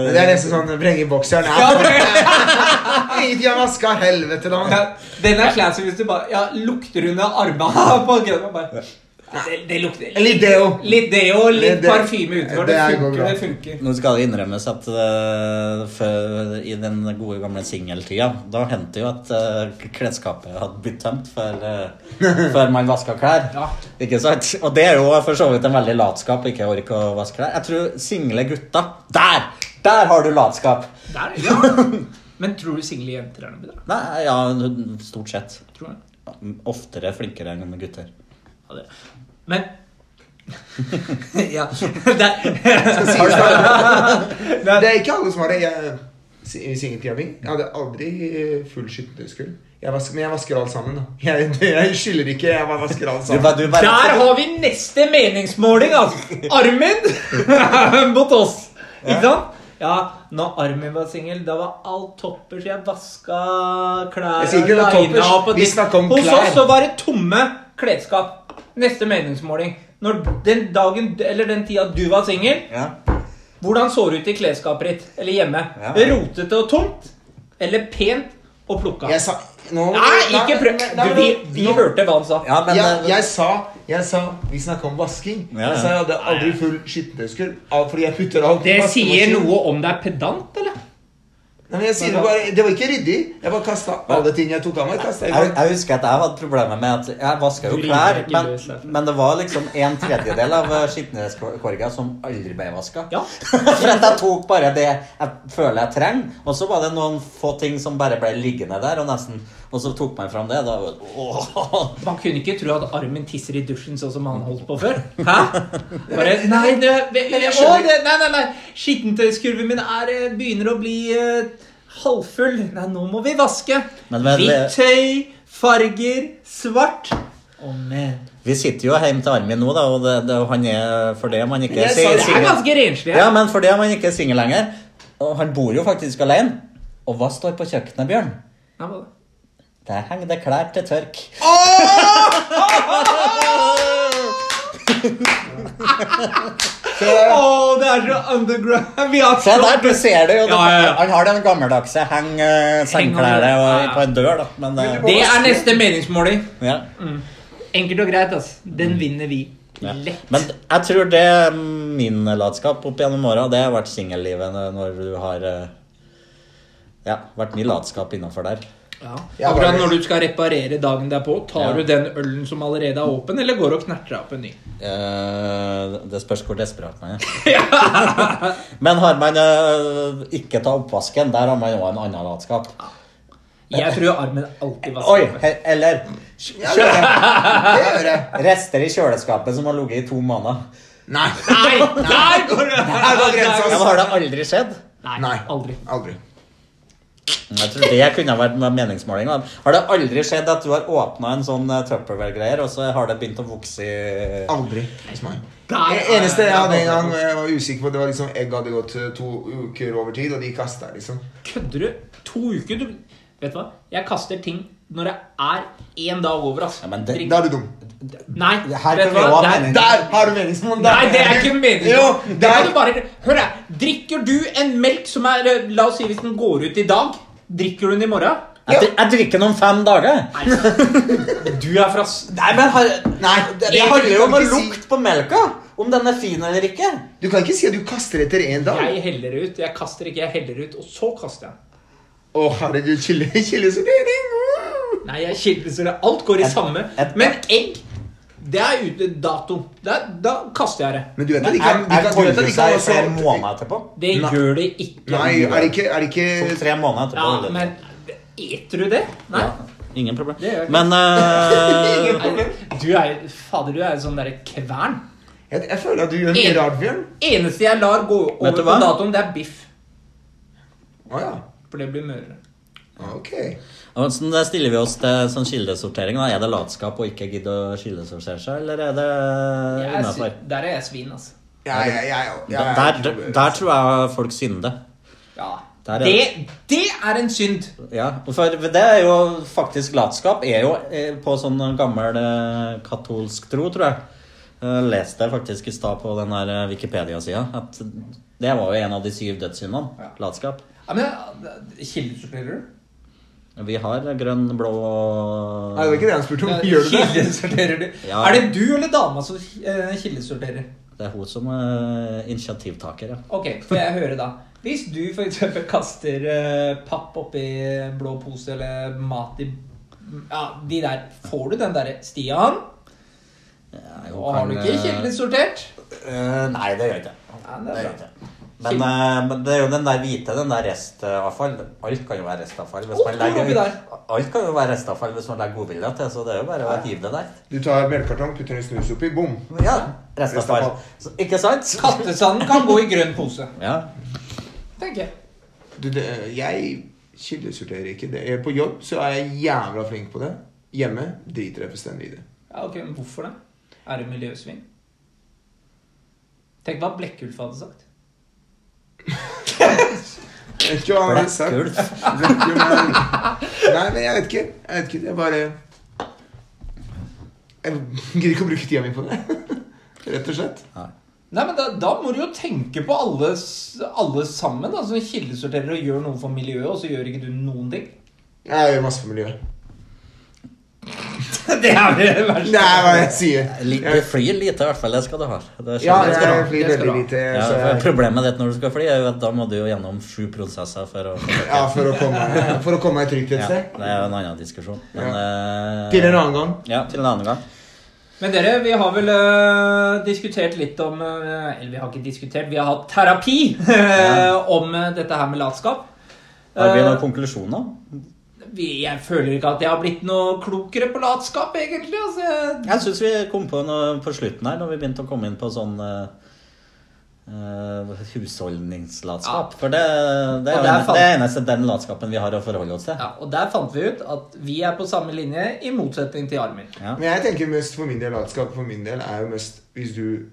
S3: Men det er nesten sånn vrenge bokseren.
S1: Ja,
S3: Ja, Ingenting jeg vaska. Helvete, da.
S1: Ja, Den er classy hvis du bare ja, lukter under armene på grønna. bare, ja, Det, det lukter
S3: Litt deo.
S1: Litt deo, litt
S3: Litt deo.
S1: parfyme utenfor. Det
S3: Det her går
S1: funker.
S3: bra.
S1: Det funker.
S2: Nå skal det innrømmes at eh, før, i den gode gamle singeltida, da hendte jo at eh, klesskapet hadde blitt tømt før, eh, før man vaska klær.
S1: Ja.
S2: Ikke sant? Og det er jo for så vidt en veldig latskap ikke å orke å vaske klær. Jeg tror single gutta Der! Der har du latskap!
S1: Der, ja. Men tror du single jenter er noe bedre?
S2: Nei, ja, stort sett.
S1: Tror jeg.
S2: Oftere flinkere enn gutter.
S1: Ja, det. Men Ja. Der.
S3: Skal sies da. Det er ikke alle som har det. Jeg, I singeltida mi Jeg hadde aldri eh, full skytterskuld. Jeg vasker, men jeg vasker alt sammen. da Jeg, jeg skylder ikke, jeg bare vasker alt
S2: Du,
S3: sammen.
S2: bare- du bare-
S1: Der har vi neste meningsmåling, altså! Armin mot oss. Ikke sant? Ja, når Armin var singel, da var alt toppers. Jeg vaska klær
S3: Jeg sier ikke det var
S1: lina
S3: toppers.
S1: og
S3: Vi snakker om
S1: Hos
S3: klær.
S1: oss så var det tomme klesskap. Neste meningsmåling. Når den dagen, eller den tida du var singel,
S2: Ja.
S1: hvordan så det ut i klesskapet ditt? Eller hjemme?
S2: Ja.
S1: Rotete og tomt? eller pent og plukka.
S3: Jeg sa nå,
S1: Nei, ikke prøv!
S3: men- nei, men
S1: vi
S3: nå-
S1: vi
S3: nå-
S1: hørte hva han sa.
S2: Ja, men
S3: jeg,
S2: eh,
S3: jeg sa Jeg sa Vi snakka om vasking.
S2: Ja, ja.
S3: Jeg sa jeg hadde aldri full skittentøyskur. av- Fordi jeg putter alt i
S1: Det sier
S3: vaskemaskin.
S1: noe om det er pedant, eller?
S3: Nei, men jeg sier det bare Det var ikke ryddig. Jeg bare kasta alle ting jeg tok av meg. kastet
S2: jeg,
S3: jeg bare.
S2: jeg husker at jeg hadde problemer med at jeg vaska jo
S1: Du
S2: klær,
S1: liker ikke
S2: men,
S1: løs, Steffen.
S2: men det var liksom en tredjedel av eh, skitneskorga som aldri ble vaska.
S1: Ja.
S2: For at jeg tok bare det jeg føler jeg trenger, og så var det noen få ting som bare ble liggende der, og nesten Og så tok man fram det, da åh.
S1: Man kunne ikke tro at armen tisser i dusjen sånn som han holdt på før. Hæ? Bare, nei, det, det,
S3: Men jeg
S1: å,
S3: skjønner-
S1: det, nei, nei, nei. Skittentøyskurven min er, eh, begynner å bli eh, halvfull. Nei, nå må vi vaske.
S2: Men vel-
S1: Hvitt tøy, farger, svart. Å, men.
S2: Vi sitter jo hjemme til Armin nå, da, og det, det, han er for det man ikke
S3: Jeg sa
S2: sier-
S1: Det er ganske renslig.
S2: Ja,
S1: Ja.
S2: men fordi man ikke er singel lenger. Og han bor jo faktisk alene. Og hva står på kjøkkenet, Bjørn? Der henger det klær til tørk.
S3: Så jeg-
S1: Å, det er så underground. Vi har
S2: Se der, du ser det jo.
S1: Ja, ja, ja.
S2: Han har den gammeldagse heng eh, sengklærne
S1: Heng-
S2: og-
S1: ja.
S2: på en dør, da. Men eh,
S1: Det er neste meningsmåling.
S2: ja.
S1: Enkelt og greit, ass. Den vinner vi.
S2: Mm. Ja.
S1: Lett.
S2: Men jeg tror det er min latskap opp gjennom åra. Det har vært singellivet når- når du har eh, Ja, vært mye latskap innafor der.
S1: Ja.
S3: Ja,
S1: Akkurat
S3: bare-
S1: når du skal reparere dagen derpå, tar
S2: Ja.
S1: du den ølen som allerede er åpen, eller går og knerter opp en ny?
S2: Eh, det spørs hvor desperat man er. Men har man eh, ikke ta oppvasken, der har man jo en annen latskap.
S1: Jeg tror armen alltid
S2: Oi!
S1: vasker.
S2: he- Eller
S3: Ja, det gjør jeg.
S2: rester i kjøleskapet som har ligget i to måneder.
S3: Nei.
S1: Nei! Der går det!
S3: Der går
S2: Ja,
S3: grensa.
S2: men har det aldri skjedd?
S1: Nei,
S3: Nei.
S1: aldri.
S3: Aldri.
S2: Jeg tror det kunne ha vært med meningsmåling. da. Har det aldri skjedd at du har åpna en sånn eh, Tupperware-greier, og så har det begynt å vokse i
S3: Aldri hos meg.
S1: Der
S3: Det
S1: er-
S3: eneste jeg hadde en gang og jeg var usikker på, det var liksom egg hadde gått eh, to uker over tid, og de kasta liksom.
S1: Kødder du? To uker? Du Vet du hva? Jeg kaster ting når det er én dag over, ass.
S2: Ja, men det-
S3: Da er du dum.
S1: Nei,
S2: Det her
S1: vet
S2: kan
S1: du
S2: vi
S1: hva?
S2: også ha
S1: Det er-
S2: mening.
S3: Der har du meningsmål!
S1: Nei, det er ikke meningen.
S3: Jo,
S1: Det kan
S3: der.
S1: du bare... Hør her, drikker du en melk som er eh, La oss si hvis den går ut i dag, drikker du den i morgen?
S2: Jeg, dri- jeg drikker den om fem dager.
S1: Du er fra s-
S2: Nei, men har, nei, det, det
S3: Jeg
S2: handler jo om
S3: kan ikke si-
S2: lukt på melka. Om den er fin eller ikke.
S3: Du kan ikke si at du kaster etter én dag.
S1: Jeg heller ut. Jeg kaster ikke, jeg heller ut. Og så kaster jeg.
S3: Å, herregud, chili, chilisortering! Woo!
S1: Nei, jeg kildeser det. Alt går i
S2: Et-
S1: samme.
S2: et-
S1: Men egg, det er ute dato. Da, da kaster jeg det.
S3: Men du vet at de
S2: Er,
S3: kan, de
S2: er
S3: kan, du vet at de
S2: tolvhuset
S3: kan
S2: her
S3: også
S2: flere måneder etterpå?
S1: Det
S3: Nei.
S1: gjør det ikke.
S3: Nei, er det ikke, er det ikke
S2: To-tre måneder etterpå.
S1: Ja,
S2: eller?
S1: men eter du det? Nei.
S2: Ja, Ingen problem.
S1: Det gjør jeg ikke.
S2: Men eh,
S1: Nei, Du er Fader, du er en sånn derre kvern.
S3: jeg, jeg føler at du gjør mye
S1: En-
S3: rart, Bjørn.
S1: Eneste jeg lar gå
S2: Vet
S1: over
S2: du
S1: på
S2: hva?
S1: datoen, det er biff.
S3: Å ja.
S1: For det blir mørere.
S3: Ok.
S2: og sånn der stiller vi oss til sånn kildesortering. Da. Er det latskap å ikke gidde å kildesortere seg, eller er det Eh,
S1: Jeg er
S2: innafor?
S1: svi- Der er jeg svin, altså.
S3: Ja, ja, ja, ja, ja, ja.
S2: Der, der, der tror jeg folk synder.
S1: Ja.
S2: Der er
S1: Det, det er en synd.
S2: Ja, for det er jo faktisk latskap er jo eh, på sånn gammel eh, katolsk tro, tror jeg. Jeg leste faktisk i stad på den her eh, Wikipedia-sida at det var jo en av de syv dødssyndene.
S1: Ja.
S2: Latskap.
S1: Ja, men eh, Kildesorterer du?
S2: Vi har grønn, blå
S3: Nei, det var ikke det han spurte om. Gjør du det?
S1: Kildesorterer du?
S2: Ja.
S1: Er det du eller dama som eh, kildesorterer?
S2: Det er hun som er initiativtaker, ja.
S1: Ok, får jeg høre da. Hvis du for eksempel kaster eh, papp oppi blå pose eller mat i ja, de der, får du den derre Stian?
S2: Nei,
S1: Og har du ikke kildesortert?
S2: Eh, Nei, det gjør jeg ikke.
S1: Ja,
S2: Det
S1: det
S2: gjør
S1: er
S2: jeg
S1: bra.
S2: ikke. Men, eh, men det er jo den der hvite, den der restavfall. Alt kan jo være restavfall. Hvis
S1: Å,
S2: man
S1: det er oppi
S2: legger,
S1: der.
S2: alt kan jo være restavfall hvis man legger godvilje til, så det er jo bare å hive det der.
S3: Du tar melkekartong, putter en snus oppi, bom.
S2: Ja, restavfall. Så, ikke sant?
S1: Kattesanden kan gå i grønn pose,
S2: Ja.
S1: tenker jeg.
S3: Du, det, jeg kildesorterer ikke det. eh, På jobb så er jeg jævla flink på det. Hjemme driter jeg fullstendig i det.
S1: Ja, ok, men Hvorfor det? Er det miljøsving? Tenk hva Blekkulf hadde sagt.
S3: Vet ikke hva han har sagt.
S2: Blekkulf.
S3: Vet ikke hva han- Nei, men jeg vet ikke. Jeg vet ikke. Jeg bare Jeg gidder ikke å bruke tida mi på det. Rett og slett.
S2: Nei.
S1: Nei, men da, da må du jo tenke på alle, s- alle sammen. da, som kildesorterer og gjør noe for miljøet, og så gjør ikke du noen ting.
S3: Jeg gjør masse for miljøet.
S1: Det er det verste.
S3: Det er hva jeg sier.
S2: Litt, du
S3: Jeg-
S2: flyr lite, i hvert fall. Det skal du ha. Det skjønner
S3: Ja,
S2: jeg skal
S3: jeg
S2: ha.
S3: flyr
S1: Det skal
S3: veldig
S1: du ha.
S3: lite.
S2: Ja,
S3: så
S2: for
S3: jeg-
S2: problemet ditt når du skal fly, er jo at da må du jo gjennom sju prosesser for å
S3: Ja, for å komme, for å komme meg trygt et
S2: ja,
S3: sted.
S2: Det er jo en annen diskusjon. Men, eh,
S3: Til en annen gang.
S2: Ja, til en annen gang.
S1: Men dere, vi har vel eh, diskutert litt om eh, Eller vi har ikke diskutert, vi har hatt terapi eh, om eh, dette her med latskap.
S2: Har vi
S1: Eh,
S2: noen konklusjoner?
S1: vi, jeg føler ikke at jeg har blitt noe klokere på latskap, egentlig. Altså, jeg-
S2: Jeg syns vi kom på noe på slutten her, når vi begynte å komme inn på sånn eh, eh, husholdningslatskap. For det, det,
S1: Og
S2: er
S1: der
S2: jo en,
S1: fant-
S2: det er eneste den latskapen vi har å forholde oss til.
S1: ja, og der fant vi ut at vi er på samme linje, i motsetning til Armin.
S3: Men jeg tenker mest for min del latskap for min del er jo mest hvis du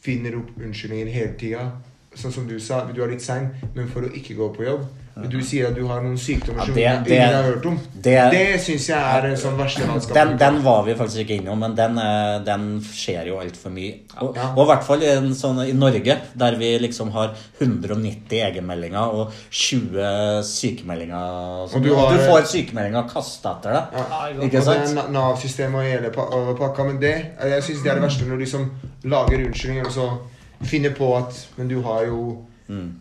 S3: finner opp unnskyldninger hele tida. Sånn som du sa, du er litt sein, men for å ikke gå på jobb. Men du sier at du har noen sykdommer
S2: Ja,
S3: som
S2: det-
S3: ingen
S2: det-
S3: har hørt om. Det,
S2: det-
S3: syns jeg er en sånn verste latskap.
S2: Den, den var vi faktisk ikke innom, men den, eh, den skjer jo altfor mye. Og,
S3: Ja.
S2: og i hvert fall i, en sånn, i Norge, der vi liksom har 190 egenmeldinger og 20 sykemeldinger.
S3: Og
S2: du,
S3: du har-
S2: du får sykemeldinger kasta etter deg.
S1: Ja,
S3: Ja.
S2: Ikke sant?
S3: Og det er Na- Nav-systemet og hele pa- og pakka. Men det, jeg syns det er det verste når du liksom lager unnskyldninger og så finner på at Men du har jo
S2: Mm.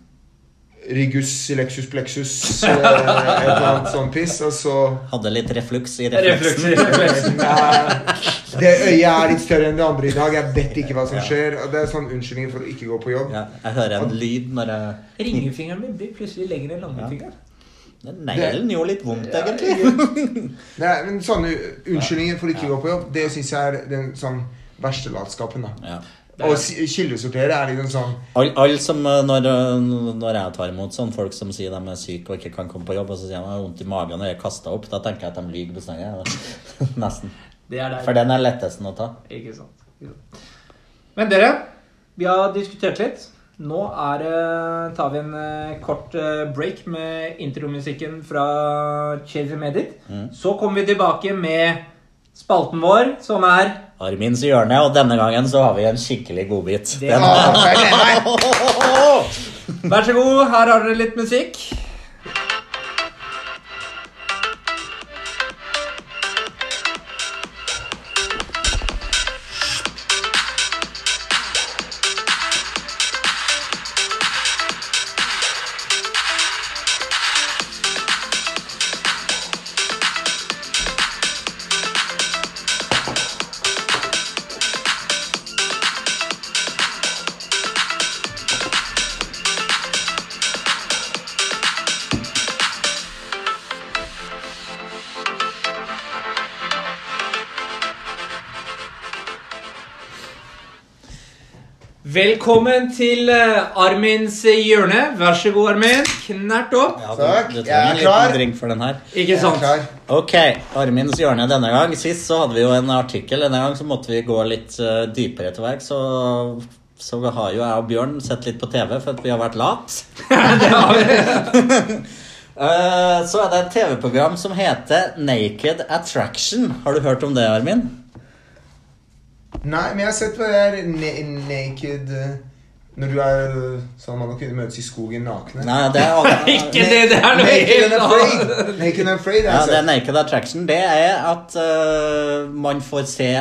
S3: rigus, lexus, plexus, eh, et eller annet sånn piss, og så
S2: Hadde litt refluks i refleksen.
S1: Reflekser.
S3: Nei, Det øyet er litt større enn det andre i dag. Jeg vet ikke hva som skjer. Og det er sånn unnskyldninger for å ikke gå på jobb.
S2: Ja, jeg hører en lyd når jeg
S1: Ringefingeren min blir plutselig lengre enn langfingeren.
S2: Den neglen gjorde litt vondt, egentlig.
S3: Nei, men sånne unnskyldninger for å ikke gå på jobb, det syns jeg er den sånn verste latskapen, da.
S2: Ja.
S3: Og si- kildesortere er litt en sånn
S2: Alle all som, eh, når, eh, når jeg tar imot sånn folk som sier de er syke og ikke kan komme på jobb, og så sier de jeg har vondt i magen og jeg er kastet opp, da tenker jeg at de lyver bestandig. Nesten.
S1: Det er der.
S2: For den er lettesten å ta.
S1: Ikke sant. Ikke sant. Men dere, vi har diskutert litt. Nå er, det- tar vi en eh, kort eh, break med intromusikken fra Chase Medit. Så kommer vi tilbake med spalten vår, som er
S2: Armins hjørne, og denne gangen så har vi en skikkelig godbit.
S1: Det-
S2: Den...
S1: Vær så god, her har dere litt musikk. Velkommen til eh, Armins hjørne. Vær så god, Armin. Knert opp.
S2: Ja, du,
S3: Takk,
S2: du
S3: jeg er
S2: trenger en
S3: klar.
S2: liten drink for den her.
S1: Ikke
S3: Jeg er
S1: sant?
S3: klar.
S2: Ok, Armins hjørne denne gang. Sist så hadde vi jo en artikkel. Denne gang så måtte vi gå litt eh, dypere til verk, så, så har jo jeg og Bjørn sett litt på TV, for at vi har vært lat. Eh, så er det et TV-program som heter Naked Attraction. Har du hørt om det, Armin?
S3: Nei, men jeg har sett hva det er na naked eh, Når du er eh, sånn man kunne møtes i skogen nakne.
S2: Nei, det er
S1: Ikke det, det er noe
S3: naked
S1: helt
S3: and
S1: annet.
S3: afraid. Naked and afraid
S2: Ja, det
S3: har jeg
S2: er
S3: sett.
S2: naked attraction. Det er at øh, man får se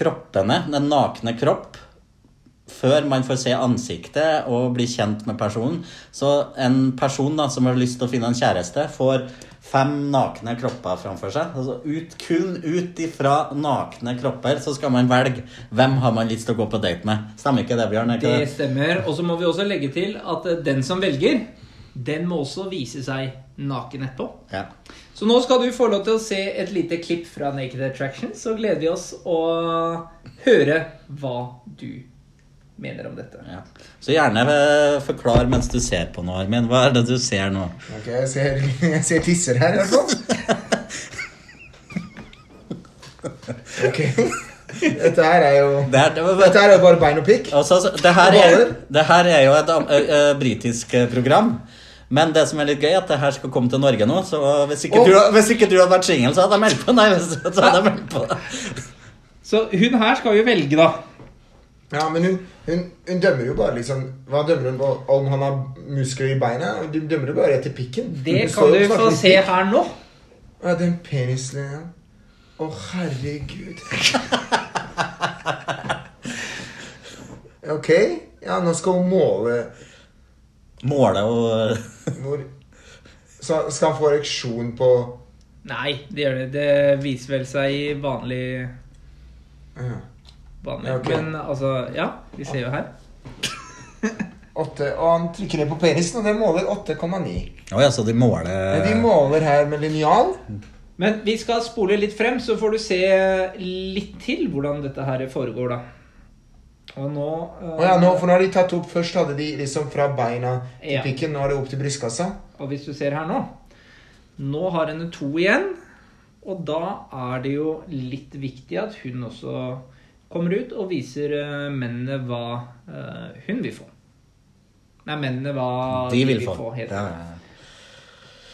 S2: kroppene, den nakne kropp, før man får se ansiktet og bli kjent med personen. Så en person da, som har lyst til å finne en kjæreste, får fem nakne kropper framfor seg. Altså ut, kun ut ifra nakne kropper så skal man velge hvem har man lyst til å gå på date med. Stemmer ikke det, Bjørn? Er Ikke
S1: Det
S2: det?
S1: stemmer. Og så må vi også legge til at eh, den som velger, den må også vise seg naken etterpå.
S2: Ja.
S1: Så nå skal du få lov til å se et lite klipp fra Naked Attraction, så gleder vi oss å høre hva du mener om dette.
S2: Ja. Så gjerne øh, forklar mens du ser på noe, Armin. Hva er det du ser nå?
S3: Ok, jeg ser, jeg ser tisser her, i hvert fall. Ok. Dette her er jo
S2: Det er, det var-
S3: Dette her er jo bare bein og pikk.
S2: Altså, altså, det, her
S3: Og
S2: er,
S3: baller.
S2: det her er jo et am- ø, ø, britisk ø, program. Men det som er litt gøy, er at det her skal komme til Norge nå. Så hvis ikke,
S3: Åh.
S2: du, hvis ikke du hadde vært singel, så hadde jeg meldt på. Nei, hvis- så hadde jeg meldt på.
S1: Så hun her skal jo velge, da.
S3: Ja, men hun, hun, hun dømmer jo bare liksom Hva dømmer hun på? Om han har muskler i beina? Hun dømmer jo bare etter pikken.
S1: Det
S3: Hun
S1: kan
S3: står jo
S1: du
S3: og snakker
S1: få
S3: om
S1: se
S3: pikk.
S1: her nå.
S3: Ja, den penislinja. Å, herregud. ok. Ja, nå skal hun måle
S2: Måle og
S3: hvor Så skal han få ereksjon på
S1: Nei, det gjør det. Det viser vel seg i vanlig
S3: ja,
S1: vanlig.
S3: Ja, ok.
S1: Men altså, ja. Vi ser jo her.
S3: åtte Og han trykker ned på penisen, og den måler 8,9.
S2: Å ja, så de måler
S3: Men de måler her med linjal.
S1: Men vi skal spole litt frem, så får du se litt til hvordan dette her foregår, da. Og nå eh,
S3: Å ja, nå, for nå har de tatt opp Først hadde de liksom fra beina til
S1: Ja.
S3: pikken, nå er det opp til brystkassa.
S1: Og hvis du ser her nå Nå har henne to igjen. Og da er det jo litt viktig at hun også kommer ut og viser eh, mennene hva eh, hun vil få. Nei, mennene hva
S2: De vil få.
S1: heter
S2: Ja,
S1: det.
S2: ja, ja.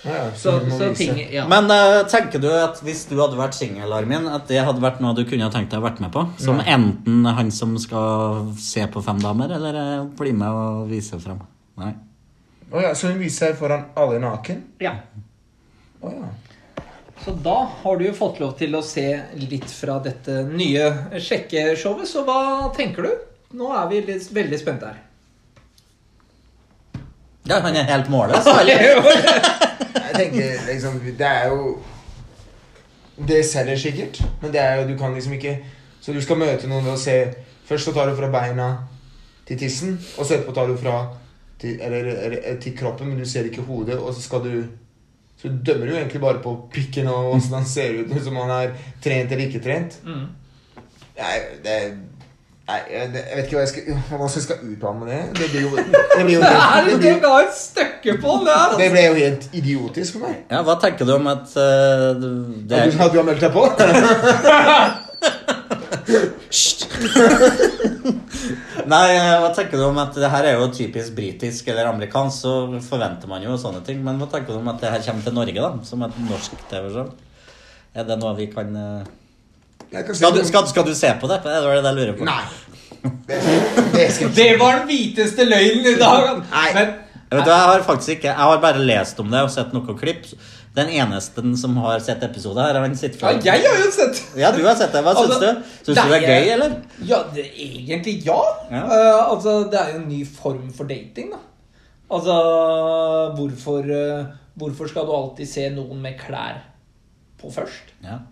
S3: Ja, ja,
S1: Så,
S3: vi må
S1: så
S3: vise.
S1: ting Ja.
S2: Men eh, tenker du at hvis du hadde vært singel, Armin, at det hadde vært noe du kunne ha tenkt deg å vært med på? Som enten han som skal se på fem damer, eller eh, bli med og vise frem? Nei.
S3: Å ja, så hun viser seg foran alle naken?
S1: ja.
S3: Å ja.
S1: Så da har du jo fått lov til å se litt fra dette nye sjekkeshowet, så hva tenker du? Nå er vi litt, veldig spente her.
S2: Ja, Altså, han er helt målløs, eller?
S3: Jeg tenker liksom Det er jo Det selger sikkert, men det er jo Du kan liksom ikke Så du skal møte noen ved å se Først så tar du fra beina til tissen, og så etterpå tar du fra til, eller, eller, til kroppen, men du ser ikke hodet, og så skal du Så du dømmer jo egentlig bare på pikken og åssen han ser ut, som han er trent eller ikke trent.
S1: Mm.
S3: Nei, det Nei, jeg det- jeg vet ikke hva jeg skal, hva jeg skal uttale med det. Det blir jo, det blir jo,
S1: Det er
S3: helt, det
S1: det du
S3: blir,
S1: ga et stykke på! Det altså. er
S3: det blir jo helt idiotisk for meg.
S2: Ja, hva tenker du om at eh, du- det
S3: At du,
S2: er
S3: at du har meldt deg på?
S2: Nei, eh, hva tenker du om at det her er jo typisk britisk eller amerikansk, så forventer man jo sånne ting. Men hva tenker du om at det her kommer til Norge, da? Som et norsk TV-show? Er det noe vi kan eh,
S3: Jeg kan si
S2: skal du,
S3: noe-
S2: skal, skal du se på det? Det var det jeg lurer på.
S3: Nei. Det, det skal jeg ikke.
S1: Det var den hviteste løgnen i dag.
S3: Nei.
S1: Men
S2: Jeg, vet, du, jeg har faktisk ikke Jeg har bare lest om det og sett noen klipp. Den eneste som har sett episode her, han sitter
S1: ja,
S2: fra
S1: jeg har jo sett
S2: Ja, du har sett det. Hva syns
S1: Altså,
S2: du? Syns du det er
S1: nei,
S2: gøy, eller?
S1: Ja, det, egentlig ja.
S2: Ja.
S1: Eh, altså, det er jo en ny form for dating, da. Altså, hvorfor, eh, hvorfor skal du alltid se noen med klær på først?
S2: Ja.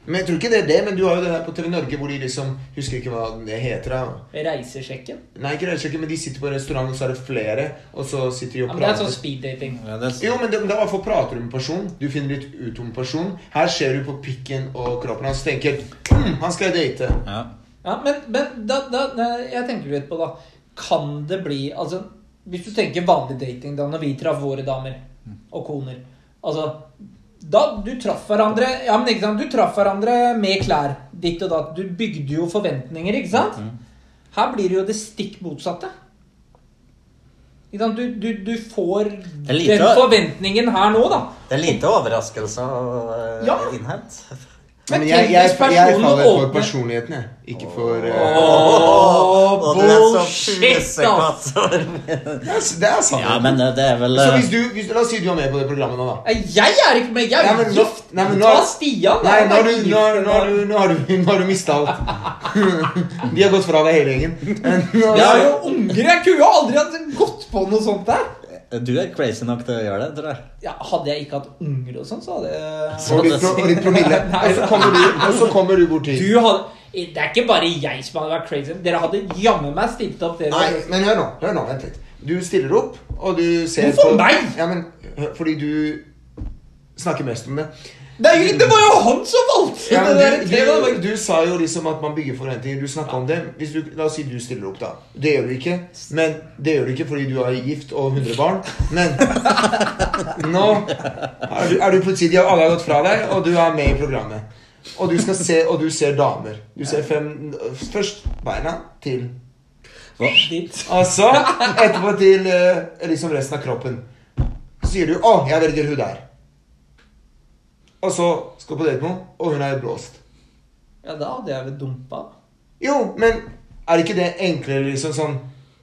S3: Men jeg tror ikke det er det, men du har jo det der på TV Norge hvor de liksom Husker ikke hva det heter. da.
S1: Reisesjekken?
S3: Nei, ikke reisesjekke, men de sitter på en restaurant, og så er det flere, og så sitter de
S1: Ja,
S3: og
S1: men det er
S3: prater.
S1: sånn speeddating.
S2: Ja, det
S3: Jo, men det, men det er i hvert fall prater du med en person. Du finner litt ut om en person. Her ser du på pikken og kroppen hans og tenker hm, han skal jeg date.
S2: ja.
S1: Ja, men, men da, da, da, jeg tenker litt på da Kan det bli Altså, hvis du tenker vanlig dating da Når vi traff våre damer og koner Altså, da du traff hverandre Ja, men ikke sant, du traff hverandre med klær Ditt og datt Du bygde jo forventninger, ikke sant? Her blir det jo det stikk motsatte Ikke sant, du, du, du får
S2: er lite,
S1: den
S2: da.
S1: forventningen her nå da
S2: Det er lite overraskelser å
S1: Ja.
S2: eh, innhente.
S1: Men
S3: Men jeg,
S1: tenk
S3: jeg,
S1: hvis
S3: jeg,
S1: personen
S3: faller for
S1: åpner-
S3: personligheten, jeg. Ikke for eh,
S1: Åh,
S2: Å, du er så
S1: bullshit, ass.
S2: pusekatt.
S3: det, er, det er sant.
S2: Ja, men det, det er vel
S3: Så
S2: eh,
S3: hvis du, hvis, La oss si du er med på det programmet nå, da.
S1: Nei, Jeg er ikke med, jeg
S3: Nei,
S1: er
S3: men nå-
S1: gift!
S3: nei, men nå-
S1: Ta Stian!
S3: Nei,
S1: han
S3: nå
S1: er
S3: har du,
S1: gift.
S3: nå, har- nå, har du- nå, har du, nå har du mista alt. De har gått fra deg hele gjengen. Nå-
S1: Jeg er jo unger, jeg kunne jo aldri hatt gått på noe sånt der.
S2: eh, Du er crazy nok til å gjøre det, tror jeg.
S1: Ja, hadde jeg ikke hatt unger og sånn, så hadde jeg
S3: Og litt, pro- og litt promille. Og så kommer du, og så kommer du bort hit.
S1: Du hadde Det er ikke bare jeg som hadde vært crazy. Dere hadde jammen meg stilt opp, dere.
S3: Nei, men hør nå. hør nå, Vent litt. Du stiller opp, og du ser
S1: Hvorfor meg?
S3: Ja, men, hør, fordi du snakker mest om det.
S1: Det, er jo, det var jo han som valgte
S3: Ja, men
S1: det der
S3: du,
S1: treet.
S3: du, du sa jo liksom at man bygger forventninger. Du snakka om det. Hvis du, la oss si du stiller opp, da. Det gjør du ikke. Men det gjør du ikke fordi du er gift og 100 barn. Men nå er du, er du plutselig de har Alle har gått fra deg, og du er med i programmet. Og du skal se, og du ser damer. Du ser fem Først beina til
S1: Ditt.
S3: Og så etterpå til eh, liksom resten av kroppen. Så sier du 'Å, jeg velger hun der'. Og så skal du på date med henne, og hun er blåst.
S1: Ja, da hadde jeg vel dumpa.
S3: Jo, men Er ikke det enklere, liksom sånn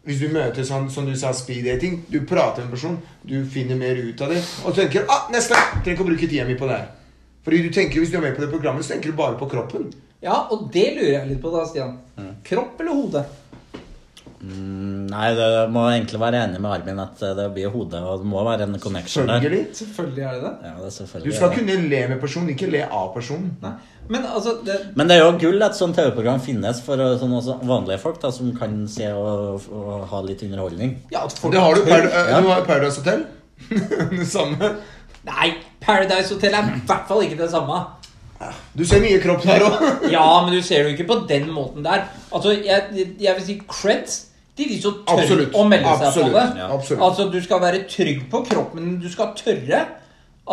S3: Hvis du møter sånn som du sa, speed-dating Du prater med en person, du finner mer ut av det, og du tenker ah, 'Neste!' Trenger ikke å bruke tida mi på det her. Fordi du tenker, Hvis du er med på det programmet, så tenker du bare på kroppen.
S1: Ja, og det lurer jeg litt på da, Stian. Kropp eller hode?
S2: Mm, Nei, du må egentlig være enig med Armin at eh, det blir hodet, og det må være en connection der.
S3: Følgelig.
S1: Selvfølgelig er det det.
S2: Ja, det er
S3: Du
S2: selvfølgelig.
S3: skal
S2: det.
S3: kunne le med personen, ikke le av personen.
S1: Nei. Men altså det,
S2: Men det er jo gull at sånn TV-program finnes for eh, sånn også vanlige folk da, som kan se og, og ha litt underholdning.
S1: ja, at folk
S3: Det har du
S1: tør-
S3: Par- eh, du har Paradise Hotel. det samme.
S1: Nei, Paradise Hotel er i hvert fall ikke det samme.
S3: Du ser mye kropp der òg.
S1: Ja, men du ser det jo ikke på den måten der. Altså, jeg, jeg vil si creds til de som tør
S3: Absolutt.
S1: å melde seg
S3: Absolutt.
S1: på det.
S2: Ja.
S3: Absolutt.
S1: Altså, du skal være trygg på kroppen, men du skal tørre.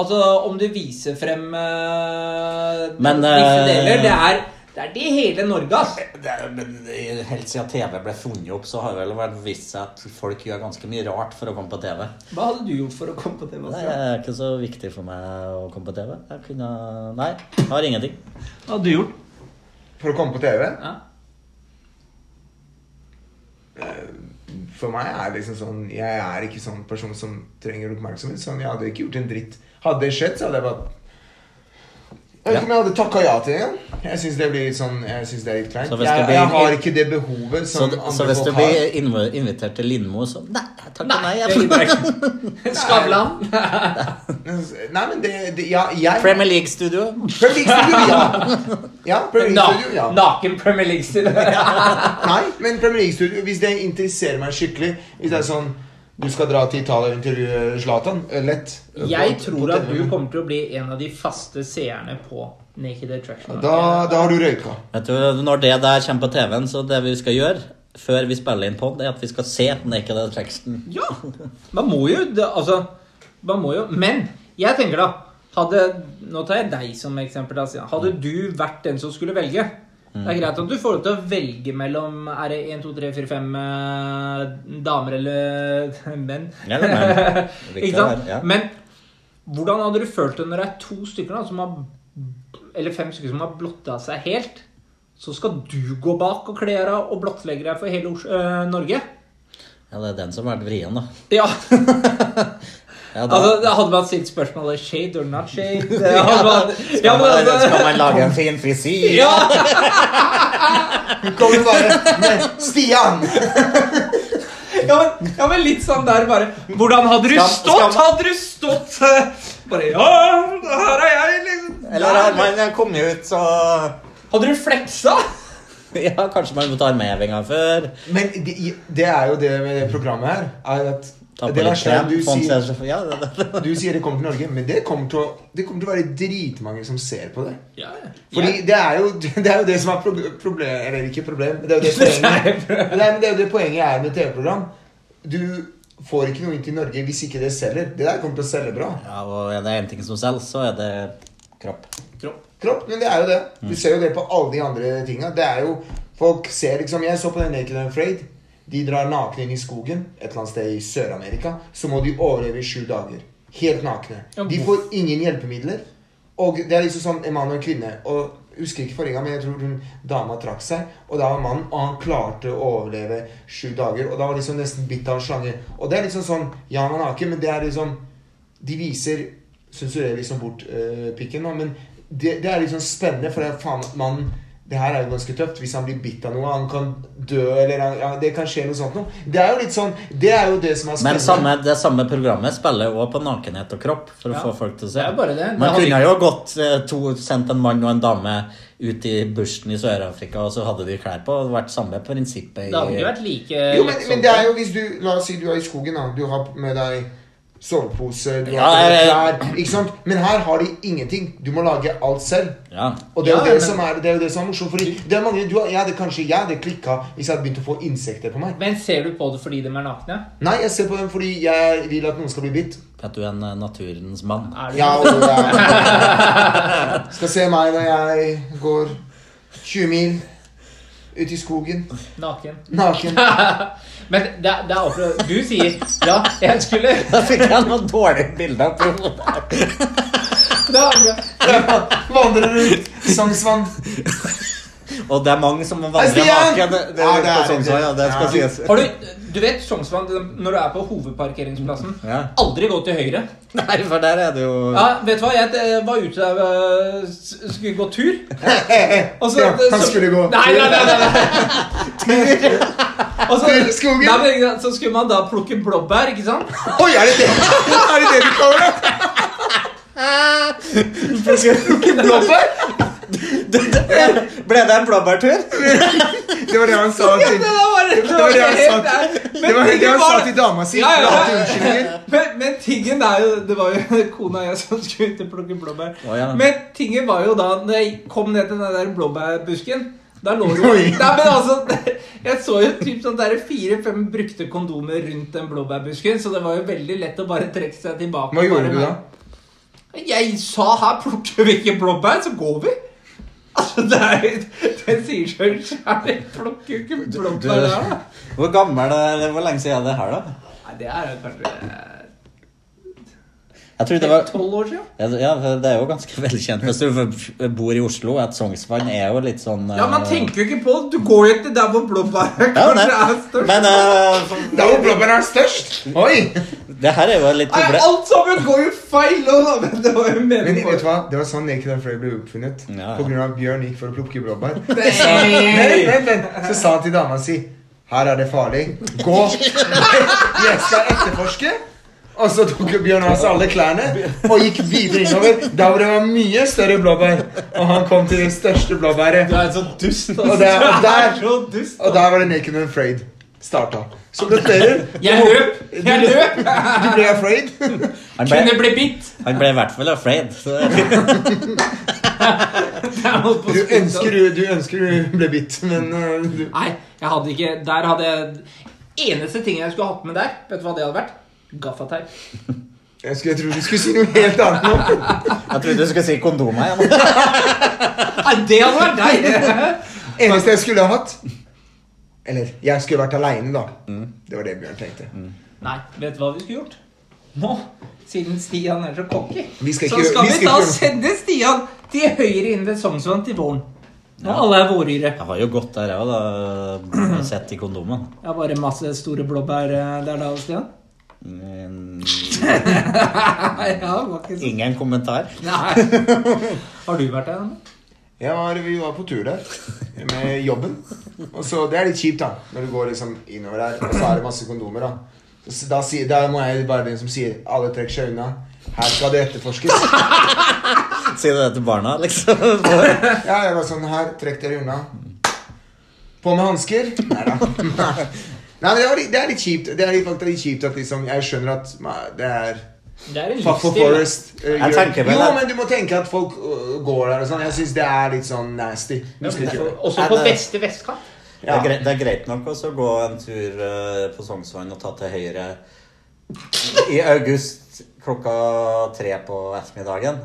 S1: Altså, om du viser frem eh,
S2: Men,
S1: visse
S2: eh,
S1: deler det er, det er det hele Norge, ass.
S2: Det er, men i- Helt siden TV ble funnet opp, så har det vel vært vist seg at folk gjør ganske mye rart for å komme på TV.
S1: Hva hadde du gjort for å komme på TV?
S2: Det
S1: Hva
S2: er ikke så viktig for meg å komme på TV. Jeg kunne Nei, jeg har ingenting.
S1: hadde du gjort?
S3: For å komme på TV.
S1: Ja.
S3: For meg er det liksom sånn Jeg er ikke sånn person som trenger oppmerksomhet. Sånn, Jeg hadde ikke gjort en dritt. Hadde det skjedd, så hadde jeg bare Jeg vet ikke om jeg hadde takka ja til det engang. Jeg syns det blir litt sånn Jeg synes det er litt kleint.
S2: Så hvis
S3: Jeg,
S2: det blir-
S3: jeg har ikke det behovet
S2: Så,
S3: som
S2: så
S3: andre
S2: hvis du
S3: folk har.
S2: blir inv- invitert til Lindmo, så Nei, takk og nei.
S1: det gidder
S2: Jeg.
S1: jeg ikke. Skavlan?
S3: Nei, men det, det Ja, jeg
S2: Premier League-studio.
S3: Premier League Studio, ja. ja, Premier
S1: Na
S3: League Studio, ja.
S1: Naken Premier League-studio.
S3: Nei, men Premier League-studio Hvis det interesserer meg skikkelig Hvis det er sånn Du skal dra til Italia og intervjue Zlatan eh, Lett eh,
S1: Jeg
S3: på- på
S1: tror at
S3: TV.
S1: du kommer til å bli en av de faste seerne på Naked Attraction.
S3: da, da har du røyka
S2: Vet du, Når det der kommer på TV-en, så det vi skal gjøre før vi spiller inn pod, er at vi skal se Naked Attraction.
S1: Ja! Man må jo det, Altså, man må jo Men jeg tenker, da hadde, Nå tar jeg deg som eksempel. Da, Stian.
S3: Mm.
S1: hadde du vært den som skulle velge Det er greit at du får lov til å velge mellom Er det 1, 2, 3, 4, 5 eh, damer eller menn.
S2: Eller menn. Riktig,
S1: Ikke sant?
S2: ja.
S1: Men hvordan hadde du følt det når det er to stykker da, som har Eller fem stykker som har blotta seg helt? Så skal du gå bak og kle deg og blottlegge deg for hele Os- eh, Norge?
S2: Ja, det er den som har vært vrien, da.
S1: Ja,
S2: Ja, da.
S1: Altså, det hadde man stilt spørsmålet shade or not shade det hadde man, ja,
S2: Skal
S1: men
S2: man,
S1: altså-
S2: skal man lage en fin frisyr?
S1: ja,
S3: Du kommer bare Men Stian
S1: ja, men, ja, men litt sånn der bare Hvordan hadde du
S2: Skal- skal
S1: stått?
S2: man-
S1: Hadde du stått eh, Bare ja, her er jeg, liksom.
S2: Eller har man kommet ut, så
S1: Hadde du fleksa?
S2: Ja, kanskje man må ta armhevinga før.
S3: Men det, det er jo det med det programmet her Er at
S2: Ta på
S3: Det
S2: litt
S3: verste er
S2: krem.
S3: at du
S2: sånn
S3: sier
S2: ser- Ja, det, det.
S3: Du sier det kommer til Norge Men det kommer til å Det kommer til å være dritmange som ser på det
S1: Ja, ja.
S3: Fordi det er, jo, det er jo det som er proble- problem Eller ikke problem, men det er jo det poenget, Nei, men det er, jo det poenget er med TV-program. Du får ikke noe inn til Norge hvis ikke det selger. Det der kommer til å selge bra.
S2: ja, og er det én ting som selger, så er det kropp.
S3: Kropp, men det er jo det. Du ser jo det på alle de andre tinga. Det er jo Folk ser liksom Jeg så på den Naked and Afraid. De drar nakne inn i skogen et eller annet sted i Sør-Amerika. Så må de overleve i sju dager. Helt nakne.
S1: Ja,
S3: De får ingen hjelpemidler. Og det er liksom sånn en mann og en kvinne. Og jeg husker ikke forrige gang, men jeg tror hun dama trakk seg. Og da var mannen, og han klarte å overleve sju dager. Og da var liksom nesten bitt av en slange. Og det er liksom sånn Ja, man er ikke, men det er liksom De viser Sensurerer liksom bort eh, pikken nå, men det, det er liksom spennende, for det er faen mannen det her er jo ganske tøft. Hvis han blir bitt av noe, han kan dø eller han, ja, Det kan skje noe sånt noe. Det er jo litt sånn Det er jo det som er
S2: Men
S3: spennende.
S2: samme, det samme programmet spiller også på nakenhet og kropp. For å
S1: Ja.
S2: få folk til å se.
S1: Det er bare det. Det
S2: Man
S1: hadde
S2: kunne jo gått eh, to, sendt en mann og en dame ut i bushen i Sør-Afrika, og så hadde de klær på. og Det vært samme prinsippet. i-
S1: Det hadde ikke vært like
S3: Eh, Jo, men,
S1: sånn.
S3: men det er jo hvis du La oss si du er i skogen, da. Du har med deg sovepose, du
S2: Ja,
S3: har på
S1: eh,
S3: deg
S2: jeg-
S3: klær Ikke sant? Men her har de ingenting. Du må lage alt selv.
S2: Ja.
S3: Og det er jo
S1: Ja,
S3: det
S1: men-
S3: som er det er jo det som er morsomt. Fordi det er mange du, har- Jeg hadde kanskje jeg hadde klikka hvis jeg hadde begynt å få insekter på meg.
S1: Men ser du på det fordi de er nakne?
S3: Nei, jeg ser på dem fordi jeg vil at noen skal bli bitt.
S2: At du er en eh, naturens mann.
S1: Er du
S3: Ja, og det er- Skal se meg når jeg går 20 mil ut i skogen
S1: naken?
S3: naken.
S1: Men det, er- det er opplevd Du sier ja, jeg skulle
S2: Da fikk jeg noen dårlige bilder. av proff.
S1: det er akkurat-
S3: Vandrer rundt Sognsvann.
S2: Og det er mange som
S3: Hei,
S2: vandrer
S3: Stian!
S2: naken. Det, det,
S3: Ja,
S2: på
S3: det er
S2: sånn,
S3: det.
S2: så, ja, det skal
S3: Ja.
S2: sies.
S1: Har du, du vet Sognsvann, den- når du er på hovedparkeringsplassen
S2: Ja.
S1: Aldri gå til høyre.
S2: Nei, for der er det jo
S1: Ja, vet du hva, jeg eh, var ute der eh, s- skulle gå tur. Og så-
S3: Eh, Ja, han skulle gå.
S1: Nei, nei, nei, nei, nei. Og så,
S3: Tur i skogen.
S1: Nei, men, ikke sant, så skulle man da plukke blåbær, ikke sant?
S3: Oi, er det det? Er det det du kaller det?
S1: Blåbær?
S2: Ble det en blåbærtur?
S3: Det var det han sa
S1: Ja,
S3: til
S1: det var det
S3: Det var det han sa til-
S1: Men
S3: det var det
S1: tingen
S3: han
S1: var
S3: sa til dama si.
S1: Ja, ja, ja.
S3: La til unnskyldninger.
S1: Men, men tingen er jo Det var jo kona og jeg som skulle ut og plukke blåbær.
S2: Å, ja.
S1: Men tingen var jo da Når jeg kom ned til den der blåbærbusken Da lå det jo
S3: Oi.
S1: Nei, men altså Jeg så jo typ sånn der fire-fem brukte kondomer rundt den blåbærbusken, så det var jo veldig lett å bare trekke seg tilbake.
S3: Hva
S1: og
S3: gjorde
S1: bare
S3: du da?
S1: være- Jeg sa her plukker vi ikke blåbær, så går vi. Altså, det, er, det sier seg sjøl. Jeg plukker jo ikke
S2: Du,
S1: blåbær der. da.
S2: hvor gammel er det, Hvor lenge siden er det her, da?
S1: Nei, det er jo kanskje
S2: Jeg tror det var
S1: tolv år siden.
S2: Ja, for det er jo ganske velkjent hvis du bor i Oslo, at Sognsvann er jo litt sånn
S1: Ja, man
S2: eh,
S1: tenker jo ikke på det. Du går jo ikke der hvor blåbæret
S2: ja,
S1: kanskje
S2: det.
S1: er størst.
S2: Men eh, for-
S3: Der hvor blåbæren er størst? Oi!
S2: det her er jo litt
S1: Nei,
S2: problem...
S1: alt sammen går jo feil! nå, da, Men det var jo
S3: Men
S1: meningen.
S3: vet du hva? Det var sånn Naked and Afraid ble oppfunnet.
S2: Ja, ja.
S3: På grunn av at Bjørn gikk for å plukke blåbær. Vent,
S1: Nei.
S3: vent, vent. Så sa han til dama si Her er det farlig. Gå! Jeg skal etterforske. Og så tok jo Bjørn hans alle klærne og gikk videre innover. Der hvor det var mye større blåbær. Og han kom til det største
S1: Du
S3: blåbæret.
S1: er så dust, altså.
S3: Og det er-
S1: Du
S3: der-
S1: er så dust.
S3: Og der var det Naked and Afraid starta. Så du hører,
S1: Jeg løp! Jeg løp!
S3: du ble afraid.
S2: Han ble,
S1: Kunne bli bitt.
S2: han ble i hvert fall afraid. Så.
S1: Jeg holdt på å
S3: Du
S1: spytte.
S3: ønsker du, du, ønsker du ble bitt, men øh, du,
S1: Nei, jeg hadde ikke Der hadde jeg Eneste ting jeg skulle hatt med der, vet du hva det hadde vært? Gaffateip.
S3: jeg, skulle, jeg trodde du skulle si noe helt annet nå.
S2: Jeg trodde du skulle si kondomer igjen.
S1: Nei, det hadde vært deg!
S3: Eneste jeg skulle ha hatt Eller jeg skulle vært aleine, da. Det var det Bjørn tenkte.
S1: Nei, vet du hva vi skulle gjort? Nå, siden Stian er så cocky,
S3: Vi skal
S1: så
S3: ikke-
S1: skal
S3: vi
S1: vi,
S3: skal
S1: da
S3: ikke-
S1: sende Stian til høyre inn ved Sognsvann til våren. Når alle er våryre.
S2: Jeg har jo gått der, jeg òg, da. Sett i kondomen.
S1: Jeg har bare masse store blåbær eh, der da, Stian.
S2: Mm,
S1: Nei, ja, det var ikke sånn.
S2: Ingen kommentar.
S1: Nei. Har du vært der? Anne?
S3: Jeg var, vi var på tur der med jobben. Og så, Det er litt kjipt, da. Når du går liksom innover der, og så er det masse kondomer. Da Så da, sier, da må jeg være den som sier 'alle trekker seg unna'. Her skal det etterforskes.
S2: Si det til barna, liksom.
S3: Ja, jeg var sånn her, trekk dere unna. På med hansker. Nei da. Nei, men det, var, litt- det er litt kjipt. Det er litt, faktisk litt kjipt at liksom, Jeg skjønner at ma- det er
S1: Det er en
S3: Fuck for
S1: livsstil, da.
S3: Forest. eh,
S2: Jeg tenker vel
S3: jo,
S2: at-
S3: men du må tenke at folk øh, går der og sånn. Jeg syns det er litt sånn nasty. Du skal ikke gjøre det.
S1: Også på
S2: Nei, det-
S1: beste vestkant.
S2: Det er, greit, det er greit nok også å gå en tur eh, på Sognsvann og ta til høyre i august klokka tre på ettermiddagen.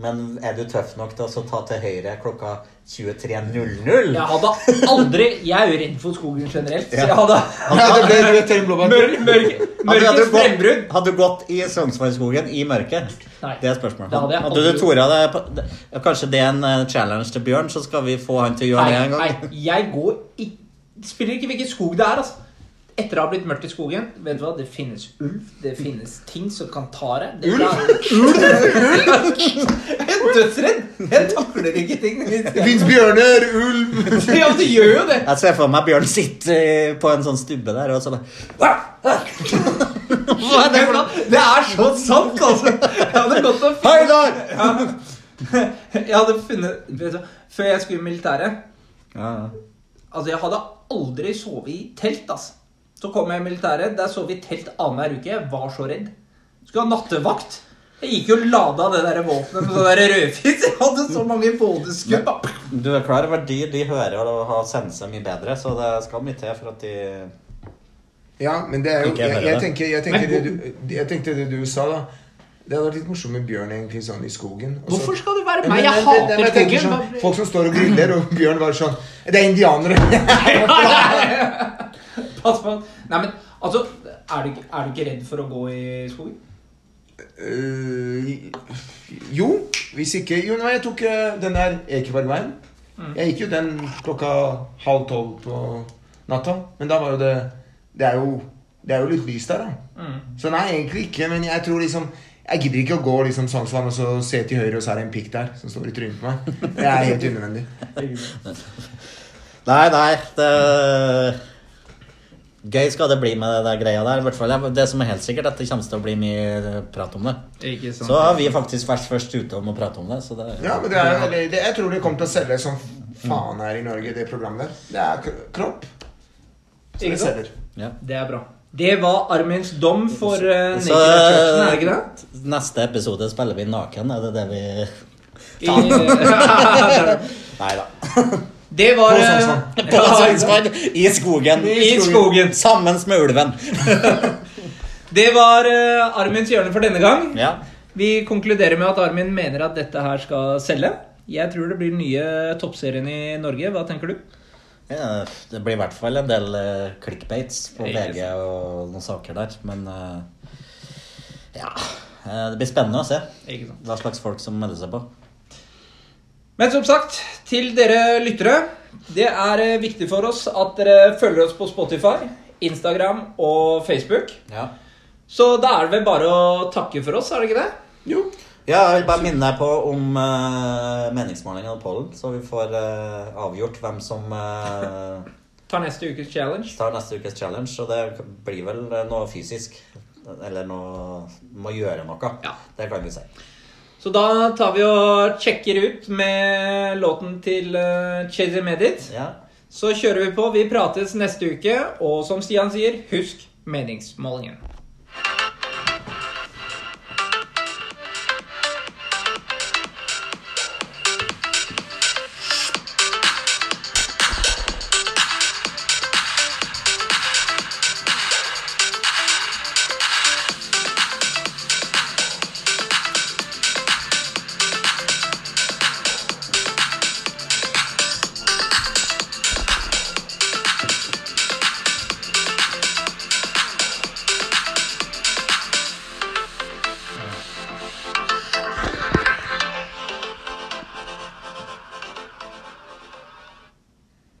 S2: Men er du tøff nok til å ta til høyre klokka 23.00?
S1: Jeg hadde aldri Jeg er jo redd for skogen generelt, så jeg hadde
S3: Ja, det ble rødt til en blåbær.
S1: Mørk, mørk,
S2: Hadde- hadde
S1: mørkets
S2: du gått-
S1: frembrudd.
S2: Hadde du gått i Sognsvannskogen i mørket?
S1: Nei.
S2: Det er spørsmålet.
S1: Det hadde jeg
S2: Hadde du
S1: aldri
S2: tora det på, det, Kanskje det er en eh, challenge til Bjørn, så skal vi få han til å gjøre det en
S1: Nei,
S2: gang?
S1: nei, jeg går i Spiller ikke hvilken skog det er, altså. Etter å ha blitt mørkt i skogen Vet du hva, det finnes ulv, det finnes ting som kan ta deg. Ulv? Jeg er dødsredd! Jeg takler ikke ting.
S3: Det fins bjørner, ulv
S1: Ja, men det gjør jo det.
S2: Jeg ser for meg Bjørn sitte eh, på en sånn stubbe der og så bare Hva er det for noe?
S1: Det er så sant, altså. Jeg hadde gått og
S2: Hei der!
S1: ja. Jeg hadde funnet vet du, hva, Før jeg skulle i militæret
S2: Ja, ja.
S1: Altså, jeg hadde aldri sovet i telt, altså. Så kom jeg i militæret, der sov vi i telt annenhver uke. Jeg var så redd. Skulle ha nattevakt. Jeg gikk jo og lada det der våpenet med sånn der rødfis. Jeg hadde så mange vådeskudd. da.
S2: Du er klar over de, de hører og har senser mye bedre, så det skal mye til for at de
S3: Ja, men det er jo
S2: Ikke jeg
S3: Jeg,
S2: hører
S3: jeg,
S2: det.
S3: tenker, jeg, tenker det du, jeg tenkte det du sa, da. Det hadde vært litt morsomt med bjørn egentlig sånn i skogen. og så-
S1: Hvorfor skal det være
S3: Men-
S1: meg?
S3: men-
S1: Jeg
S3: men- men- men
S1: hater
S3: jeg tenker
S1: skogen.
S3: Sånn, folk som står og griller, og bjørn var sånn Det er indianere!
S1: Pass på. at- Nei, men altså, er du, ikke- er du ikke redd for å gå i skogen?
S3: Eh, Øh, jo, hvis ikke Jo, nei, jeg tok øh, den der eh, Ekebergveien. Jeg gikk jo den klokka halv tolv på natta, men da var jo det Det er jo, det er jo litt lys der, da. Så nei, egentlig ikke, men jeg tror liksom jeg gidder ikke å gå liksom Sognsvann og så se til høyre, og så er det en pikk der som står i trynet på meg. Det er helt unødvendig.
S2: Nei, nei det... Gøy skal det bli med det der greia der. I hvert fall, det som er helt sikkert, er at det kommer til å bli mye eh, prat om det.
S1: Ikke sant.
S2: Så har vi faktisk vært først ute om å prate om det. Så det er...
S3: Ja, men det er, jo- det, Jeg tror det kommer til å selge som faen her i Norge, det programmet der. Det er kro- kropp. Så
S1: Ikke
S3: det
S1: sant?
S3: selger.
S2: Ja.
S1: Det er bra. Det var Armins dom for uh,
S2: Så
S1: Naked
S2: eh,
S1: Attraction, er det ikke det?
S2: neste episode spiller vi naken. Er det det vi
S1: I,
S2: Nei da.
S1: det var eh,
S3: På Sognsvann.
S2: På Sognsvann, I skogen.
S1: I skogen.
S2: Sammen med ulven.
S1: Det var eh, Armins hjørne for denne gang.
S2: Ja.
S1: Vi konkluderer med at Armin mener at dette her skal selge. Jeg tror det blir den nye toppserien i Norge. Hva tenker du?
S2: ja. Det blir i hvert fall en del eh, clickbaits på
S1: Ikke
S2: VG og noen saker der, men eh, Ja. eh, Det blir spennende å se
S1: Ikke sant.
S2: hva slags folk som melder seg på.
S1: Men som sagt, til dere lyttere. Det er eh, viktig for oss at dere følger oss på Spotify, Instagram og Facebook.
S2: Ja.
S1: Så da er det vel bare å takke for oss, er det ikke det?
S3: Jo.
S2: Ja, jeg vil bare minne deg på om eh, meningsmålingen av pollen, så vi får eh, avgjort hvem som eh,
S1: Tar neste ukes challenge.
S2: tar neste ukes challenge. Og det blir vel eh, noe fysisk. Eller noe Må gjøre noe.
S1: Ja.
S2: Det kan vi si.
S1: Så da tar vi og sjekker ut med låten til uh, Chase Medit.
S2: Ja.
S1: Så kjører vi på. Vi prates neste uke, og som Stian sier, husk meningsmålingen.